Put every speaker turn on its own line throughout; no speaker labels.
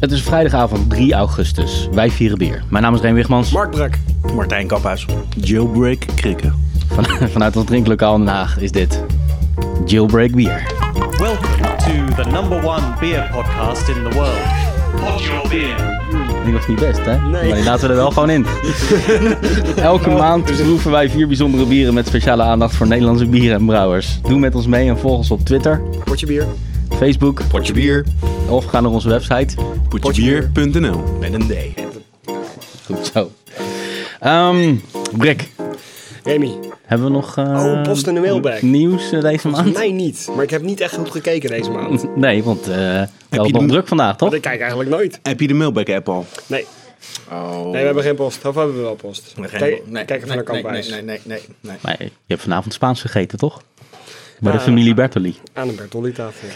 Het is vrijdagavond 3 augustus. Wij vieren bier. Mijn naam is Reen Wigmans.
Mark Brak.
Martijn Kaphuis.
Jailbreak krikken.
Van- vanuit ons drinklokaal in Den Haag is dit Jailbreak Bier.
Welcome to the number one beer podcast in the world. Pod your beer.
Die was niet best, hè? Nee. Maar die laten we er wel gewoon in. Elke maand proeven wij vier bijzondere bieren met speciale aandacht voor Nederlandse bieren en brouwers. Doe met ons mee en volg ons op Twitter,
Potje bier.
Facebook
Potje bier.
of ga naar onze website.
Potjebier.nl Met een D.
Goed zo. Ehm Brik,
Remy.
hebben we nog eh,
Oh, post in de mailbag.
nieuws eh, deze maand?
Mij niet. Maar ik heb niet echt goed gekeken deze maand.
Nee, want eh we hadden
je
nog
de-
druk vandaag, toch?
Want ik kijk eigenlijk nooit.
Heb je de mailback-app al?
Nee. Nee, we hebben geen post. Of hebben we wel post? Kijk, kijk even naar Kamphuis.
Nee, nee, nee, nee.
Nee, je hebt vanavond Spaans gegeten, toch? Bij de familie Bertoli.
Aan een Bertolli tafel.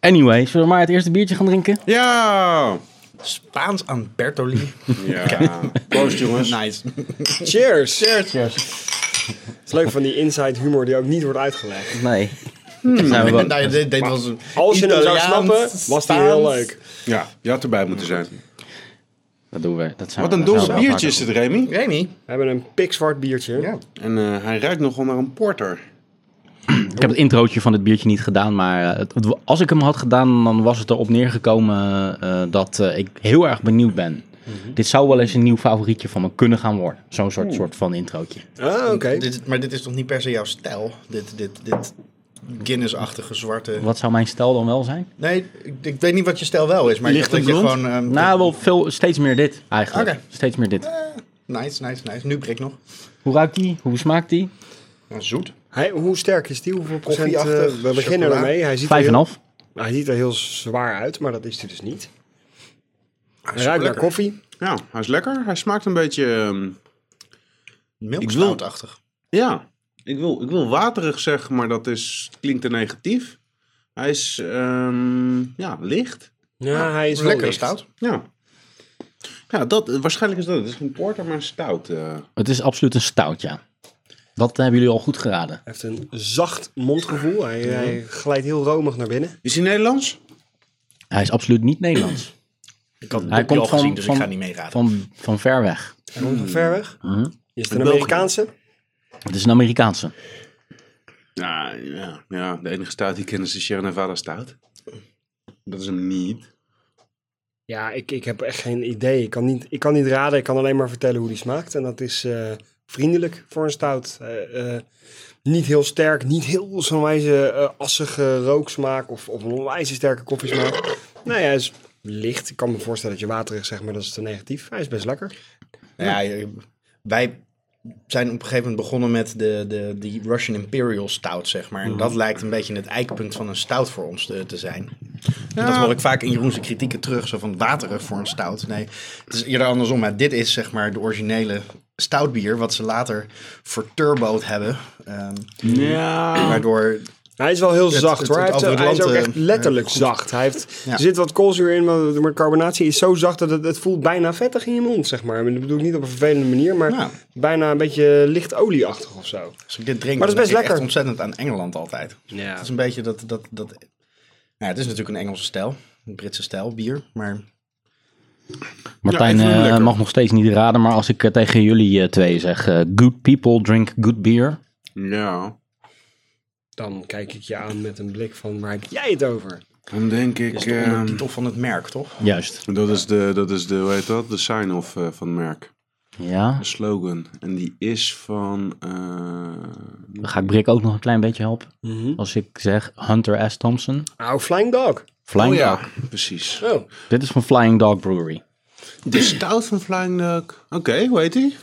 Anyway, zullen we maar het eerste biertje gaan drinken?
Ja!
Spaans aan Bertoli.
Ja. Nou, Proost jongens. Nice.
Cheers! Cheers! Het is leuk van die inside humor die ook niet wordt uitgelegd.
Nee. Zijn we wel-
Nou, dit, dit was een
Als je hem zou
Italiaans,
snappen, was die heel
Spaans.
leuk.
Ja, je had erbij moeten zijn.
Dat doen we. Dat zijn
Wat een
we- dat
donker
zouden we
biertje is
vaker
het, Remy.
Remy.
We hebben een pikzwart biertje.
Ja.
En eh, hij ruikt nogal naar een porter.
doen. Ik heb het introotje van dit biertje niet gedaan, maar eh, het- het- als ik hem had gedaan, dan was het erop neergekomen eh, dat eh, ik heel erg benieuwd ben. Dit zou wel eens een nieuw favorietje van me kunnen gaan worden. Zo'n soort, soort van introotje.
Ah, oké.
Dit, maar dit is toch niet per se jouw stijl? Dit, dit, dit Guinness-achtige zwarte...
Wat zou mijn stijl dan wel zijn?
Nee, ik, ik weet niet wat je stijl wel is, maar
Licht
ik dacht
en
dat je
blond?
gewoon... ehm,
Nou, wel veel, steeds meer dit eigenlijk.
Oké.
Steeds meer dit.
Nice, nice, nice. Nu prik nog.
Hoe ruikt die? Hoe smaakt die?
Ja, zoet.
Hey, hoe sterk is die? Hoeveel procent? eh,
Koffieachtig,
we beginnen
chocola.
ermee. Hij ziet, er
Vijf en
heel,
half.
hij ziet er heel zwaar uit, maar dat is hij dus niet. Hij
is
ruikt naar
lekker.
koffie.
Ja, hij is lekker. Hij smaakt een beetje... ehm,
Milkstoutachtig.
ja, ik wil, ik wil waterig zeggen, maar dat is, klinkt te negatief. Hij is, ehm, ja, licht.
Ja, hij is wel
Lekker
licht.
stout.
Ja. Ja, dat, waarschijnlijk is dat. Het is geen porter, maar een stout. eh.
Het is absoluut een stout, ja. Dat hebben jullie al goed geraden.
Hij heeft een zacht mondgevoel. Hij, hij glijdt heel romig naar binnen.
Is hij Nederlands?
Hij is absoluut niet Nederlands.
Ik had het
Hij
dopje
komt
al
van-
gezien, dus
van-
ik ga niet meeraden.
Van, van ver weg.
Hij komt van ver weg. Is het een
België.
Amerikaanse?
Het is een Amerikaanse.
Ja, ja, ja, de enige stout die ik ken is de Sierra Nevada stout. Dat is hem niet.
Ja, ik, ik heb echt geen idee. Ik kan, niet, ik kan niet raden. Ik kan alleen maar vertellen hoe die smaakt. En dat is eh, vriendelijk voor een stout. Eh, eh, niet heel sterk. Niet heel zo'n wijze eh, assige rooksmaak. Of, of een onwijze sterke koffiesmaak. Nee, hij is licht. Ik kan me voorstellen dat je waterig zegt, maar dat is te negatief. Hij is best lekker.
Nou Ja, je- wij zijn op een gegeven moment begonnen met de, de, die Russian Imperial Stout, zeg maar. En
Mhm.
dat lijkt een beetje het eikpunt van een stout voor ons te, te zijn. En Dat hoor ik vaak in Jeroen's kritieken terug, zo van waterig voor een stout. Nee, het is eerder andersom. Maar dit is zeg maar de originele stoutbier, wat ze later verturboot hebben. ehm,
Ja.
Waardoor
Hij is wel heel
Het-
zacht
het-
hoor. Hij,
het
heeft-
over het
hij is
land,
ook
eh,
echt letterlijk zacht. Hij heeft,
Ja.
Er zit wat koolzuur in, maar de- maar de carbonatie is zo zacht dat het, het voelt bijna vettig in je mond, zeg maar. Dat bedoel ik niet op een vervelende manier, maar
Ja.
bijna een beetje licht olieachtig of zo.
Als ik dit drink,
Maar dat is best
dan denk ik echt
lekker.
ontzettend aan Engeland altijd.
Ja.
Het is een beetje dat... dat, dat nou, ja, het is natuurlijk een Engelse stijl. Een Britse stijl, bier. Maar
Martijn
Ja, ik vind hem
eh,
lekker.
mag nog steeds niet raden, maar als ik eh, tegen jullie eh, twee zeg: eh, Good people drink good beer.
Ja.
Dan kijk ik je aan met een blik van waar heb jij het over?
Dan denk ik...
dat is toch onder
ehm,
de titel van het merk, toch?
Juist.
dat is de, dat is de, hoe heet dat? De sign-off eh, van het merk.
Ja.
De slogan. En die is van... eh,
Dan ga ik Brik ook nog een klein beetje helpen.
Mhm.
Als ik zeg Hunter S. Thompson.
Oh, Flying Dog.
Flying
oh ja,
Dog.
precies.
Oh,
Dit is van Flying Dog Brewery.
De stout van Flying Duck. Oké, hoe heet die?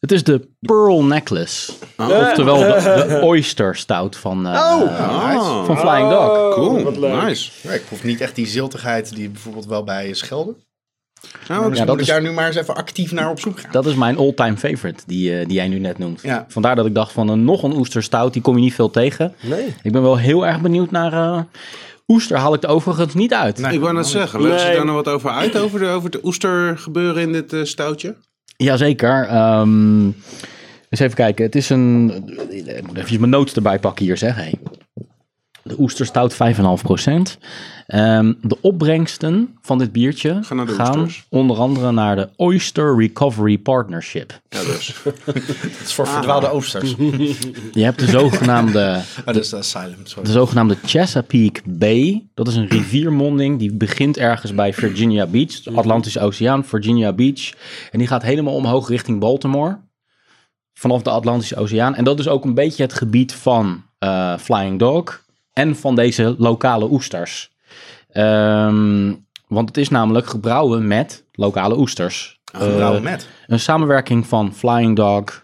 Het is de Pearl Necklace.
Oh.
Oftewel de, de Oyster Stout van, eh,
Ah,
van Flying Dog.
cool.
wat leuk.
Nice.
Ja, ik proef niet echt die ziltigheid die bijvoorbeeld wel bij Schelde.
Ja, want-
Ja,
dat
moet ik
is-
daar nu maar eens even actief naar op zoek gaan.
Dat is mijn all-time favorite, die, eh, die jij nu net noemt.
Ja.
Vandaar dat ik dacht van een nog een oesterstout, die kom je niet veel tegen.
nee.
Ik ben wel heel erg benieuwd naar... eh, oester haal ik er overigens niet uit.
Nee.
Ik wou net zeggen, leggen ze
Nee.
daar nog wat over uit? Over, de, over het oestergebeuren in dit eh, stoutje?
Jazeker. ehm, eh, eens even kijken. Het is een... Ik moet even mijn notes erbij pakken hier, zeg. Hey. De oesterstout 5,5%. Ehm, de opbrengsten van dit biertje
Gaan naar de oesters.
onder andere naar de Oyster Recovery Partnership.
Ja, dus.
Het is voor verdwaalde oosters.
Je hebt de zogenaamde
Ah, dat is de Asylum,
De
sorry.
zogenaamde Chesapeake Bay, dat is een riviermonding die begint ergens bij Virginia Beach, de Atlantische Oceaan, Virginia Beach. En die gaat helemaal omhoog richting Baltimore, vanaf de Atlantische Oceaan. En dat is ook een beetje het gebied van eh, Flying Dog en van deze lokale oesters. Ehm, want het is namelijk gebrouwen met lokale oesters.
Gebrouwen met.
Een samenwerking van Flying Dog,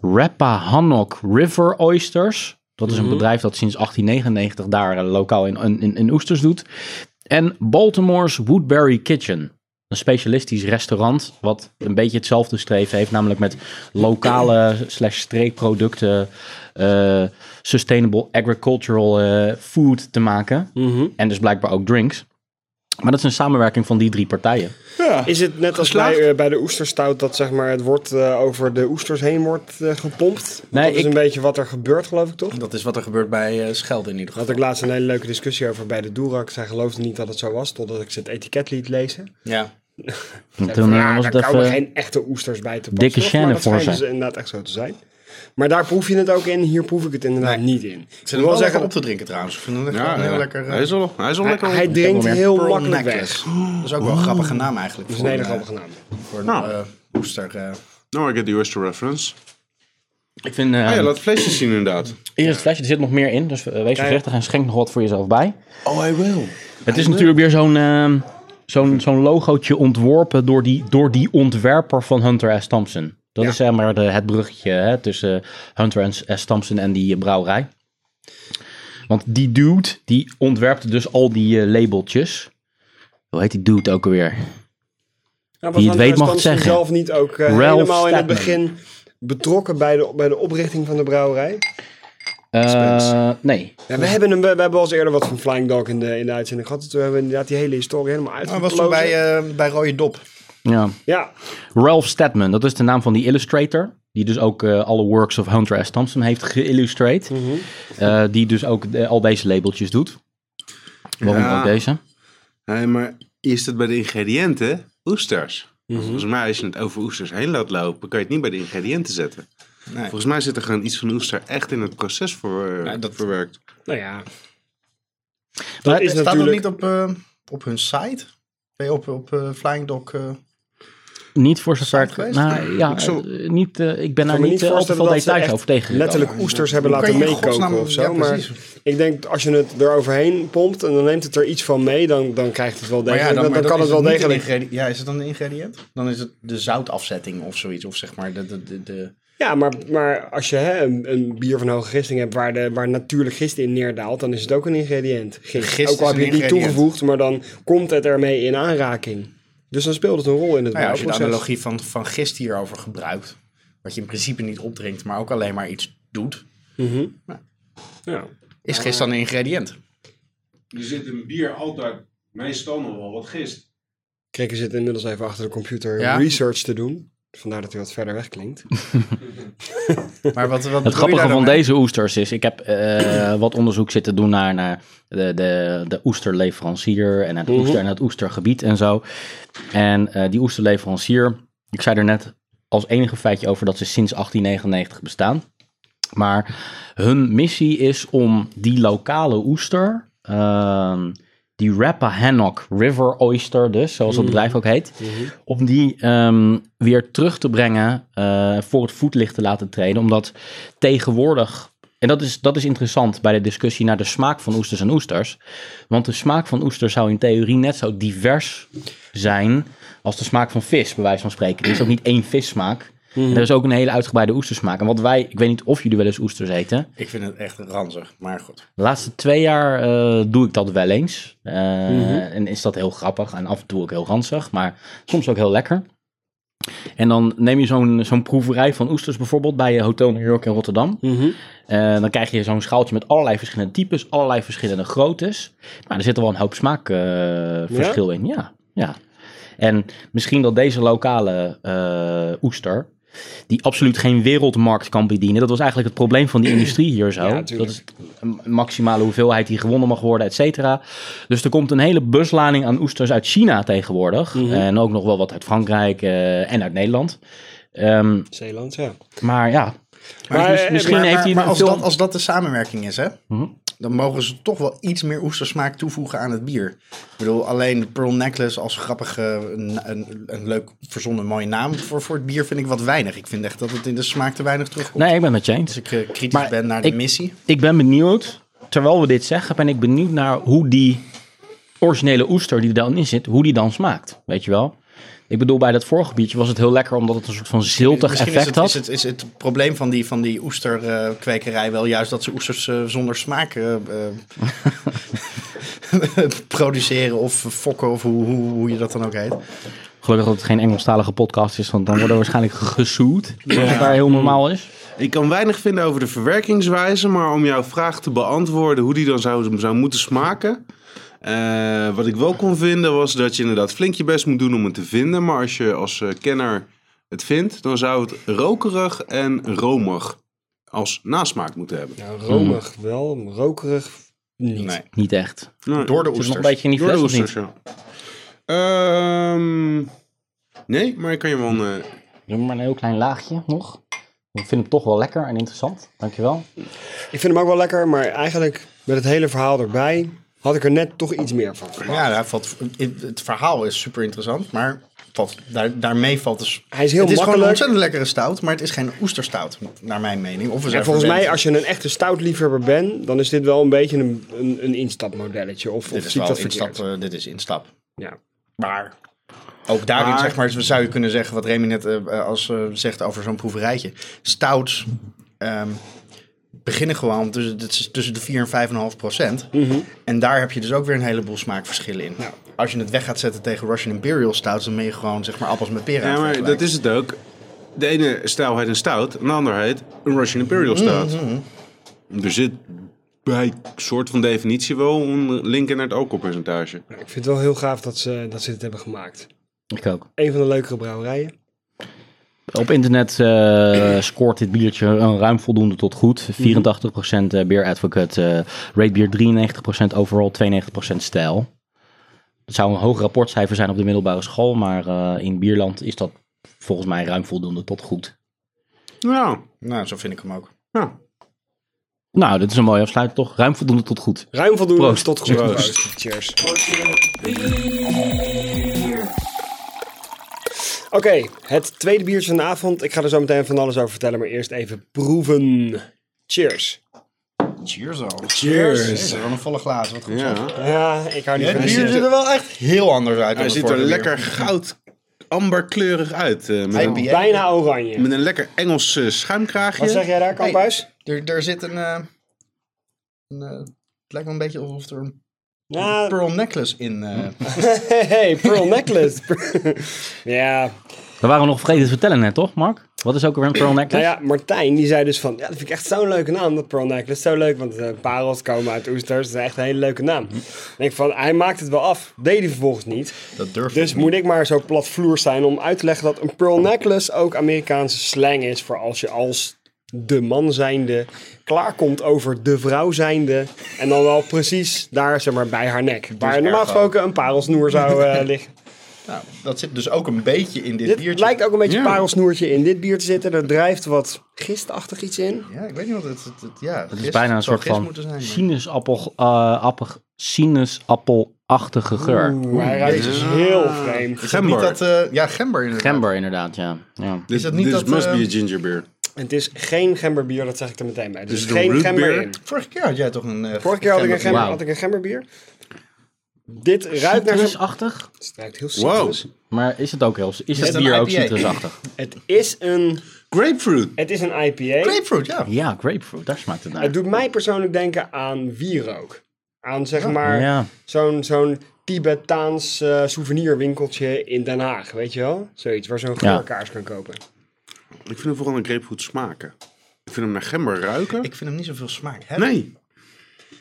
Rappahannock River Oysters. Dat is een bedrijf dat sinds 1899 daar eh, lokaal in, in, in oesters doet. En Baltimore's Woodbury Kitchen. Een specialistisch restaurant wat een beetje hetzelfde streven heeft. Namelijk met lokale slash streekproducten, eh, sustainable agricultural eh, food te maken. En dus blijkbaar ook drinks. Maar dat is een samenwerking van die drie partijen.
Is het net als bij, eh, bij de oesterstout dat zeg maar, het wordt eh, over de oesters heen wordt eh, gepompt?
Nee,
Nee, dat is
ik-
een beetje wat er gebeurt, geloof ik toch?
Dat is wat er gebeurt bij eh Schelde in ieder
Had
geval.
ik laatst een hele leuke discussie over bij de Doerak. Zij geloofde niet dat het zo was, totdat ik ze het etiket liet lezen.
Ja.
En
Van,
toen eh,
ja,
was
daar
het even...
komen geen echte oesters bij te passen.
dikke
hoor, maar
chaîne
dat
voor
schijnen
zijn.
ze inderdaad echt zo te zijn. Maar daar proef je het ook in, hier proef ik het inderdaad
Nee.
niet in.
Ik zit hem wel lekker op te drinken trouwens. Ik vind hem echt wel
Ja,
heel
ja.
lekker. eh,
Hij is al, hij is al
Hij,
lekker.
hij
op.
drinkt
Pearl
heel makkelijk
Necklace.
weg.
Dat is ook wel een grappige naam eigenlijk.
Dat is een hele grappige naam.
Voor een
Nou.
eh, oester. eh.
Nou, ik heb de eerste reference.
Ik vind, eh,
Ah ja, laat het flesje zien inderdaad.
Hier is het flesje, er zit nog meer in. Dus eh, wees voorzichtig en schenk nog wat voor jezelf bij.
Oh, I will.
Het is natuurlijk weer zo'n ehm, zo'n zo'n logootje ontworpen door die, door die ontwerper van Hunter S. Thompson. Dat is zeg maar de, het bruggetje hè, tussen Hunter S. Thompson en die eh, brouwerij. Want die dude, die ontwerpt dus al die eh, labeltjes. Hoe heet die dude ook alweer?
Ja,
Wie het weet mag het zeggen.
zelf niet ook eh,
Ralph
helemaal in het
Stadman.
begin betrokken bij de, bij de oprichting van de brouwerij?
Eh, nee.
Ja, we, hebben hem, we, we hebben al eens eerder wat van Flying Dog in de, in de uitzending gehad. Dus we hebben inderdaad die hele historie helemaal
Maar
uitgeplozen.
Ah, was toen bij, eh bij Rode Dop.
Ja.
Ja,
Ralph Stedman, dat is de naam van die illustrator. Die dus ook eh, alle works of Hunter S. Thompson heeft geïllustreerd. Eh, die dus ook eh, al deze labeltjes doet. Waarom
Ja.
ook deze?
Hé, maar is het bij de ingrediënten oesters? Volgens mij, als je het over oesters heen laat lopen, kan je het niet bij de ingrediënten zetten.
Nee.
Volgens mij zit er gewoon iets van oester echt in het proces voor, eh,
Nee, dat-
verwerkt.
nou ja.
Maar
is
Staat dat
natuurlijk-
niet op, eh, op hun site? Ben je op, op eh, Flying Dog? eh,
Niet voor zover
Zand
ik...
geweest?
Nou, ja,
Ik zal-
eh, niet, eh, ik ben
Ik
daar
kan
Nou,
me
niet
niet
eh, al te
voorstellen
veel
dat ze
details
echt
over tegen.
Letterlijk oesters hebben
Hoe kan
laten
je in godsnaam-
meekoken of zo.
Ja,
maar
precies.
ik denk, als je het eroverheen pompt en dan neemt het er iets van mee, dan, dan krijgt het wel
Maar
degelijk.
ja,
dan,
maar
dan
dat
kan
is
het wel
niet een
degelijk.
ingrediënt. Ja, is het dan een ingrediënt? Dan is het de zoutafzetting of zoiets. Of zeg maar de... de, de, de-
Ja, maar, maar als je hè, een, een bier van hoge gisting hebt waar, de, waar natuurlijk gist in neerdaalt, dan is het ook een ingrediënt. Gist.
Gist
ook al
is
heb je
een
het niet
ingrediënt.
toegevoegd, maar dan komt het ermee in aanraking. Dus dan speelt het een rol in het
Nou ja, als je de
brouwproces.
analogie van, van gist hierover gebruikt. Wat je in principe niet opdrinkt, maar ook alleen maar iets doet.
Ja.
Is
Ah.
gist dan een ingrediënt?
Er zit een bier altijd, meestal nog wel wat gist.
Krikker zit inmiddels even achter de computer
Ja.
research te doen. Vandaar dat hij wat verder weg klinkt.
Maar wat, wat
Het grappige van deze oesters is, ik heb eh, wat onderzoek zitten doen naar, naar de, de, de oesterleverancier en het oester en het oestergebied en zo. En eh, die oesterleverancier, ik zei er net als enige feitje over dat ze sinds 1899 bestaan. Maar hun missie is om die lokale oester, ehm, die Rappahannock River Oyster dus, zoals het bedrijf ook heet, om die ehm, weer terug te brengen, eh, voor het voetlicht te laten treden. Omdat tegenwoordig, en dat is, dat is interessant bij de discussie naar de smaak van oesters en oesters, want de smaak van oesters zou in theorie net zo divers zijn als de smaak van vis, bij wijze van spreken. Er is ook niet één vissmaak. En er is ook een hele uitgebreide oestersmaak. En wat wij, ik weet niet of jullie wel eens oesters eten.
Ik vind het echt ranzig, maar goed.
De laatste twee jaar eh, doe ik dat wel eens. Eh, En is dat heel grappig en af en toe ook heel ranzig, maar soms ook heel lekker. En dan neem je zo'n zo'n proeverij van oesters bijvoorbeeld bij je Hotel New York in Rotterdam.
Mhm.
Eh, dan krijg je zo'n schaaltje met allerlei verschillende types, allerlei verschillende groottes. Maar er zit er wel een hoop smaakverschil in, ja. ja. En misschien dat deze lokale eh, oester die absoluut geen wereldmarkt kan bedienen. Dat was eigenlijk het probleem van die industrie hier zo.
Ja,
dat
tuurlijk.
is een maximale hoeveelheid die gewonnen mag worden, et cetera. Dus er komt een hele buslading aan oesters uit China tegenwoordig.
Mhm.
En ook nog wel wat uit Frankrijk eh, en uit Nederland. Ehm,
Zeeland, ja.
maar ja,
Maar,
mis-
eh,
misschien
maar-
heeft
maar-
hij
Maar
een
als
film-
dat, als dat de samenwerking is, hè,
Mhm.
dan mogen ze toch wel iets meer oestersmaak toevoegen aan het bier. Ik bedoel, alleen de Pearl Necklace als grappige, een, een, een leuk verzonnen mooie naam voor, voor het bier vind ik wat weinig. Ik vind echt dat het in de smaak te weinig terugkomt.
nee, ik ben met je eens.
Als ik eh, kritisch
Maar
ben naar de
ik-
missie.
Dus Ik ben benieuwd, terwijl we dit zeggen, ben ik benieuwd naar hoe die originele oester die er dan in zit, hoe die dan smaakt. Weet je wel? Ik bedoel, bij dat vorige biertje was het heel lekker omdat het een soort van ziltig
Misschien
effect
is, het,
had.
is, het, is het probleem van die, van die oesterkwekerij wel juist dat ze oesters eh, zonder smaak eh, eh, produceren of fokken of hoe, hoe, hoe je dat dan ook heet.
Gelukkig dat het geen Engelstalige podcast is, want dan worden we waarschijnlijk gesoed. Als het daar heel normaal is.
Ik kan weinig vinden over de verwerkingswijze, maar om jouw vraag te beantwoorden hoe die dan zou, zou moeten smaken. eh, wat ik wel kon vinden was dat je inderdaad flink je best moet doen om het te vinden. Maar als je als eh, kenner het vindt, dan zou het rokerig en romig als nasmaak moeten hebben.
Ja, romig wel, rokerig niet.
Hmm. Nee.
Niet echt.
Nee,
Door de
Het is nog een
oesters.
beetje in die
door de
fles of
oesters,
niet?
ja. Ehm, nee, maar ik kan je wel... een, eh,
Doe maar een heel klein laagje nog. Ik vind hem toch wel lekker en interessant. Dankjewel.
Ik vind hem ook wel lekker, maar eigenlijk met het hele verhaal erbij had ik er net toch iets meer van.
Ja, daar valt, het- het verhaal is super interessant, maar valt, daar, daarmee valt dus...
Hij is heel
het is gewoon een
makkelijk.
ontzettend lekkere stout, maar het is geen oesterstout, naar mijn mening. Of we zijn
En volgens mij,
verwend.
als je een echte stoutliefhebber bent, dan is dit wel een beetje een, een, een instapmodelletje. Of, of
Dit is,
zie ik
wel
dat
instap,
verkeerd?
eh, dit is instap.
Ja.
Maar ook daarin,
Maar-
zeg maar, zou je kunnen zeggen wat Remy net eh, eh, als, eh, zegt over zo'n proeverijtje. Stouts ehm, beginnen gewoon tussen, dit is tussen de 4 en 5,5 procent.
Mhm.
En daar heb je dus ook weer een heleboel smaakverschillen in. Als je het weg gaat zetten tegen Russian Imperial Stouts, dan ben je gewoon zeg maar appels met peren. aan
Ja,
het
maar dat
vergelijken.
is het ook. De ene stijl heet een stout, en de ander heet een Russian Imperial stout. Er zit bij soort van definitie wel een link in naar het alcoholpercentage.
Ik vind het wel heel gaaf dat ze, dat ze dit hebben gemaakt.
Ik ook.
Een van de leukere brouwerijen.
Op internet eh, scoort dit biertje een ruim voldoende tot goed. 84% eh, Beer Advocate, eh Rate Beer 93% overall, 92% stijl. Dat zou een hoog rapportcijfer zijn op de middelbare school, maar eh, in Bierland is dat volgens mij ruim voldoende tot goed.
Ja,
Nou, zo vind ik hem ook.
ja.
Nou, dit is een mooie afsluiting toch? Ruim voldoende tot goed.
Ruim voldoende
Proost.
tot goed.
Proost.
Proost. Cheers. Oké, het tweede biertje van de avond. Ik ga er zo meteen van alles over vertellen, maar eerst even proeven. Cheers.
Cheers al.
Cheers.
Is wel een volle glaas, wat goed zo.
ja.
Ja, ik hou niet
Het
van
bier ziet
bier.
er wel echt heel anders uit. dan
Hij
het
ziet er
vorige bier.
lekker goud amberkleurig uit. eh, met, een,
IPA.
Bijna oranje.
met een lekker Engels eh, schuimkraagje.
Wat zeg jij daar, Kamphuis?
Er, er zit een. eh, een eh, het lijkt wel een beetje alsof er een
Ja,
pearl necklace in. eh,
hey, pearl necklace. ja,
We waren nog vergeten te vertellen net, toch, Mark? Wat is ook weer een pearl necklace?
nou ja, Martijn die zei dus van, ja, dat vind ik echt zo'n leuke naam, dat pearl necklace. Zo leuk, want eh, parels komen uit oesters, dat is echt een hele leuke naam.
Hm.
Ik denk van, hij maakt het wel af, deed hij vervolgens niet.
dat durf
Dus moet ik maar zo platvloer zijn om uit te leggen dat een pearl necklace ook Amerikaanse slang is voor als je als de man zijnde klaarkomt over de vrouw zijnde en dan wel precies daar zeg maar bij haar nek. Waar normaal
erg
gesproken een parelsnoer zou eh, liggen.
Nou, dat zit dus ook een beetje in dit,
Dit
biertje.
lijkt ook een beetje
Ja.
parelsnoertje in dit bier te zitten. Er drijft wat gistachtig iets in.
Ja, ik weet niet wat het... het, het- ja,
Het is bijna een soort van
Moeten zijn, maar-
sinaasappel, eh, appig- sinaasappelachtige geur.
Maar hij ruikt dus heel vreemd.
Is dat niet
Gember.
dat... eh, ja, gember inderdaad.
Gember inderdaad, ja. ja.
Dit,
Is dat niet
dit
dat,
must
eh,
be a ginger beer.
En het is geen gemberbier, dat zeg ik er meteen bij. Er
Is
is
het een
geen
root
gember
beer?
in.
Vorige keer had jij toch een... eh,
Vorige keer had ik een, gember,
Wauw.
had ik een gemberbier. Dit ruikt naar... gem-
Citrusachtig?
Het ruikt heel
Wow,
citrus.
Maar is het ook heel... Is het
het
bier
een
ook
IPA?
citrusachtig?
Het is een,
grapefruit.
het is een IPA.
Grapefruit, ja.
Ja, grapefruit, daar smaakt het naar.
Het doet mij persoonlijk denken aan wierook. Aan zeg maar
Ja.
zo'n zo'n Tibetaans eh, souvenirwinkeltje in Den Haag, weet je wel? Zoiets waar zo'n
Ja.
geurkaars kan kopen.
Ik vind hem vooral een grapefruit smaken. Ik vind hem naar gember ruiken.
Ik vind hem niet zoveel smaak hebben.
Nee.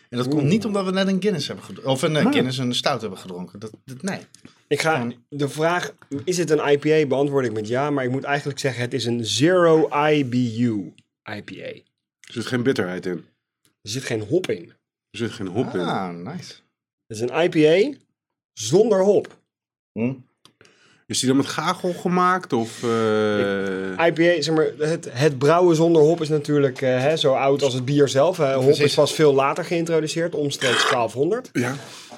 En dat komt niet omdat we net een Guinness hebben gedronken. Of een eh, Guinness en een stout hebben gedronken. Dat, dat, nee.
Ik ga de vraag, is het een IPA, beantwoord ik met ja. Maar ik moet eigenlijk zeggen, het is een zero IBU IPA.
Er zit geen bitterheid in.
Er zit geen hop in.
Er zit geen hop in.
Ah, nice.
Het is een IPA zonder hop.
Is die dan met gagel gemaakt? Of, eh,
IPA, zeg maar, het, het brouwen zonder hop is natuurlijk eh, hè, zo oud als het bier zelf. Hè. Hop
Precies.
is pas veel later geïntroduceerd, omstreeks 1200.
Ja.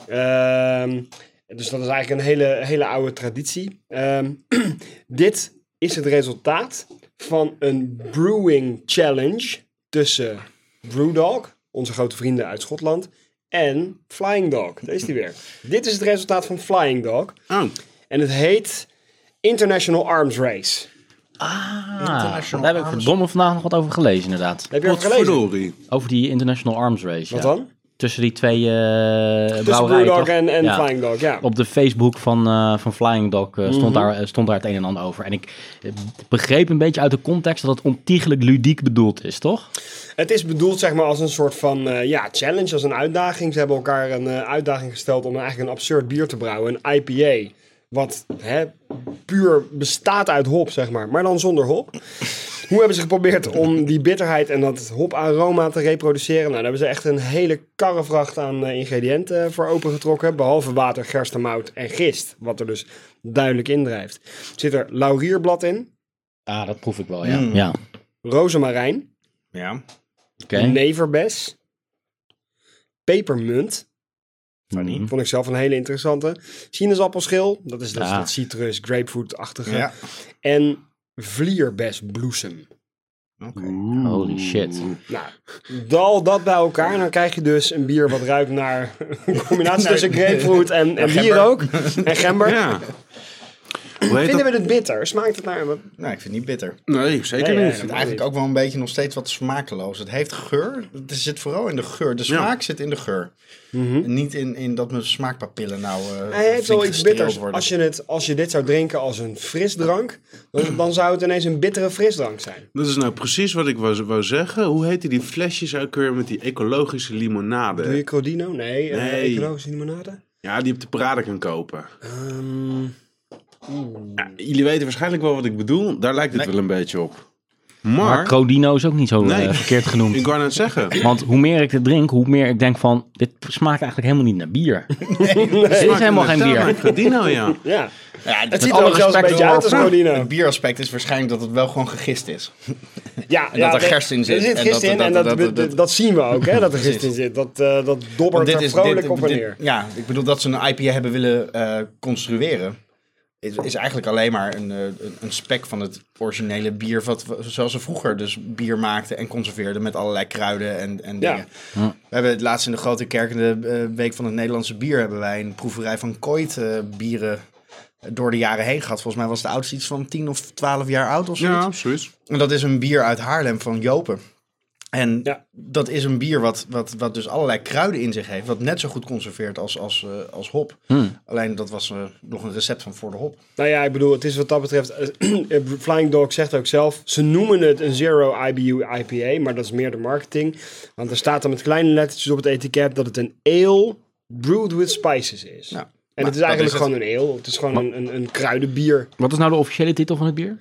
Ehm, dus dat is eigenlijk een hele, hele oude traditie. Ehm, dit is het resultaat van een brewing challenge tussen Brewdog, onze grote vrienden uit Schotland, en Flying Dog. Deze is die weer. Dit is het resultaat van Flying Dog.
Oh,
En het heet International Arms Race.
Ah, daar heb ik verdomme vandaag nog wat over gelezen, inderdaad.
Heb je het gelezen?
potverdorie.
Over die International Arms Race.
Wat
ja.
dan?
Tussen die twee eh
Tussen
brouwerijen,
Brewdog
toch?
en, en
Ja.
Flying Dog, ja.
Op de Facebook van, eh, van Flying Dog eh, stond, daar, eh, stond daar het een en ander over. En ik eh, begreep een beetje uit de context dat het ontiegelijk ludiek bedoeld is, toch?
Het is bedoeld zeg maar als een soort van eh, ja, challenge, als een uitdaging. Ze hebben elkaar een eh, uitdaging gesteld om eigenlijk een absurd bier te brouwen, een IPA. Wat hè, puur bestaat uit hop, zeg maar, maar dan zonder hop. Hoe hebben ze geprobeerd om die bitterheid en dat hoparoma te reproduceren? Nou, daar hebben ze echt een hele karrevracht aan eh, ingrediënten voor opengetrokken. Behalve water, gerstemout en gist, wat er dus duidelijk indrijft. Zit er laurierblad in,
Ah, dat proef ik wel, ja. Ja, oké.
rozemarijn,
Ja.
Neverbes. Pepermunt.
Mhm.
Vond ik zelf een hele interessante. Sinaasappelschil. Dat is dat,
Ja.
dat citrus, grapefruit-achtige.
ja.
En vlierbesbloesem.
Holy shit.
Nou, dal dat bij elkaar. Dan krijg je dus een bier wat ruikt naar een combinatie tussen grapefruit en, en bier
gember.
ook. En gember.
Ja. Hoe heet
Vinden
dat?
we het bitter? Smaakt het naar...
Nou, ik vind het niet bitter.
Nee, zeker
Nee, ja,
niet.
ja,
Het is eigenlijk ook wel een beetje nog steeds wat smakeloos. Het heeft geur. Het zit vooral in de geur. De smaak zit in de geur. En Niet in, in dat mijn smaakpapillen nou. eh,
Mhm. Hij heeft
flink
wel iets
gestreeld
bitters.
worden.
Als je, het, als je dit zou drinken als een frisdrank, dan, dan zou het ineens een bittere frisdrank zijn.
Dat is nou precies wat ik wou, wou zeggen. Hoe heette die flesjes ook weer met die ecologische limonade?
Doe je Crodino? Nee. eh,
Eh. Nee.
ecologische limonade?
Ja, die je op de parade kan kopen. Ja, jullie weten waarschijnlijk wel wat ik bedoel. Daar lijkt het wel een beetje op.
Maar
Maar,
Crodino is ook niet zo eh,
Nee.
verkeerd genoemd.
ik kan het zeggen.
Want hoe meer ik het drink, hoe meer ik denk van... dit smaakt eigenlijk helemaal niet naar bier. dit is helemaal geen bier.
Cardino, nou, ja.
Ja.
Ja,
Het
het,
ziet
alle
er ook zelfs een
respect
beetje uit als
voor-
Crodino.
het bieraspect is waarschijnlijk dat het wel gewoon gegist is.
Ja,
En dat er gerst in zit.
Er zit
En
gist
dat-
in
dat-
en dat,
dat-
dat,
dat-
dat, zien we ook, hè, dat er gist in zit. Dat, eh, dat dobbert er vrolijk op en
dit-
neer.
ja, ik bedoel dat ze een IPA hebben willen eh, construeren. Is, is eigenlijk alleen maar een, eh, een- een spek van het originele bier. Wat, we- zoals ze vroeger dus bier maakten en conserveerden met allerlei kruiden en, en
Ja.
dingen. We hebben het laatst in de Grote Kerk in de eh, Week van het Nederlandse Bier. hebben wij een proeverij van Kooit eh, bieren door de jaren heen gehad. Volgens mij was de oudste iets van 10 of 12 jaar oud of zoiets.
Ja, absoluut.
En dat is een bier uit Haarlem van Jopen. En
Ja.
dat is een bier wat, wat, wat dus allerlei kruiden in zich heeft. Wat net zo goed conserveert als, als, eh, als hop. Alleen dat was eh, nog een recept van voor de hop.
Nou ja, ik bedoel, het is wat dat betreft... eh, Flying Dog zegt ook zelf, ze noemen het een Zero IBU IPA, maar dat is meer de marketing. Want er staat dan met kleine lettertjes op het etiket dat het een ale brewed with spices is.
Ja,
en
maar
het is
dat
eigenlijk
is het.
gewoon een ale. Het is gewoon een, een, een kruidenbier.
Wat is nou de officiële titel van het bier?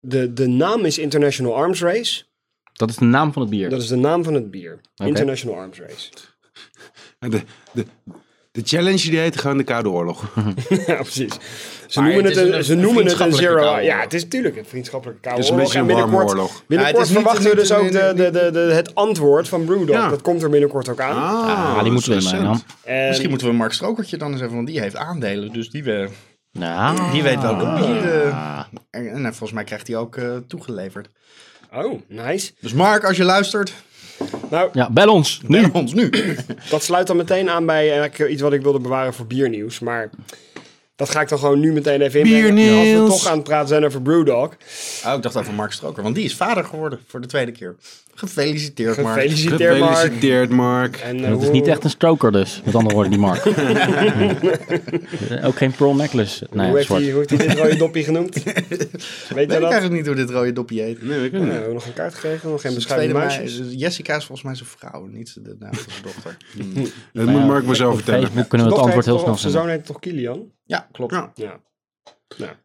De, de naam is International Arms Race.
Dat is de naam van het bier.
Dat is de naam van het bier. International Arms Race.
En De, de, de challenge die heet gewoon de Koude Oorlog.
Ja, precies. Ze
Maar
noemen
het
het,
is
een,
een
ze noemen het een
vriendschappelijke
zero.
koude
Ja,
oorlog.
het is natuurlijk een vriendschappelijke koude
Het is een
oorlog.
beetje
En
een warme
binnenkort-
oorlog.
Binnenkort
Ja, het is niet-
verwachten we
niet-
dus ook
niet-
de, de, de, de- het antwoord van Brewdog.
Ja.
Dat komt er binnenkort ook aan.
Ah,
ah, die moeten we in
recent.
meenemen.
En
Misschien moeten we Mark Strokertje dan eens even, want die heeft aandelen. Dus die, we,
Nou,
die weet welke bieren.
ah,
En, en volgens mij krijgt hij ook eh, toegeleverd.
Oh, nice.
Dus Mark, als je luistert,
Nou,
ja, bel ons, nu.
neem ons nu. Oh,
eh, dat sluit dan meteen aan bij eigenlijk iets wat ik wilde bewaren voor biernieuws. Maar Dat ga ik dan gewoon nu meteen even inbrengen.
Biernieuws.
Als we toch aan het praten zijn over Brewdog.
Oh, ik dacht over Mark Stroker, want die is vader geworden voor de tweede keer. Gefeliciteerd, Mark.
Gefeliciteerd, Mark.
Gefeliciteerd, Mark.
En, eh,
Dat is
hoe-
niet echt een stroker dus, met andere woorden, die Mark. Ja. Ook geen pearl necklace.
hoe,
Nee,
heeft
zwart.
hij, hoe heeft hij dit rode dopje genoemd? Weet
Weet
jij
ik
dat?
eigenlijk niet hoe dit rode dopje heet.
Nee, ik weet
Nou, we
niet.
hebben nog een kaart gekregen, nog geen
Tweede
beschrijving
meisje.
meisjes.
is- Jessica is volgens mij zijn vrouw, niet de naam van zijn dochter.
Dat moet Mark maar zelf vertellen.
Facebook kunnen we het antwoord
Dochter heet
heel
toch-
snel
of Zijn
vinden.
zoon heet toch Kilian?
Ja, klopt.
Ja.
Ja.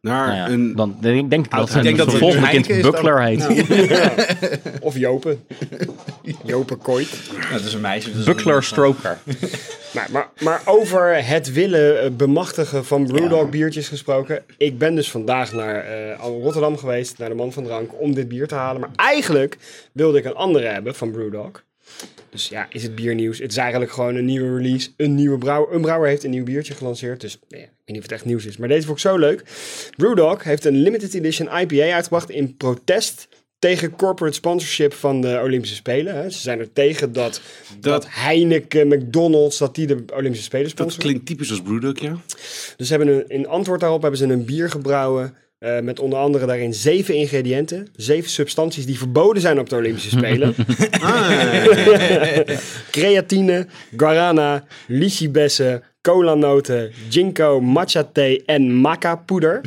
Naar
Nou ja,
een...
dan denk denk ik dat
denk
zijn
dat het
volgende
Heineken
kind
is dan.
Buckler heet.
Of Jopen. Jopen Kooit.
dat is een meisje. dus-
Buckler Stroker.
Maar, Nou, maar, maar over het willen eh, bemachtigen van Brewdog biertjes gesproken. Ik ben dus vandaag naar eh, Rotterdam geweest, naar de man van drank, om dit bier te halen. Maar eigenlijk wilde ik een andere hebben van Brewdog. Dus ja, is het biernieuws? Het is eigenlijk gewoon een nieuwe release. Een nieuwe brouwer. Een brouwer heeft een nieuw biertje gelanceerd. Dus nou ja, ik weet niet of het echt nieuws is. Maar deze vond ik zo leuk. Brewdog heeft een limited edition IPA uitgebracht in protest tegen corporate sponsorship van de Olympische Spelen. Hè. Ze zijn er tegen dat, dat, Heineken, McDonald's, dat die de Olympische Spelen
Dat
sponsoren.
klinkt typisch als Brewdog, ja.
Dus ze hebben een, in antwoord daarop hebben ze een bier gebrouwen. eh, met onder andere daarin zeven ingrediënten. Zeven substanties die verboden zijn op de Olympische Spelen. Ah. Creatine, guarana, lychebessen, colanoten, ginkgo, matcha thee en maca poeder.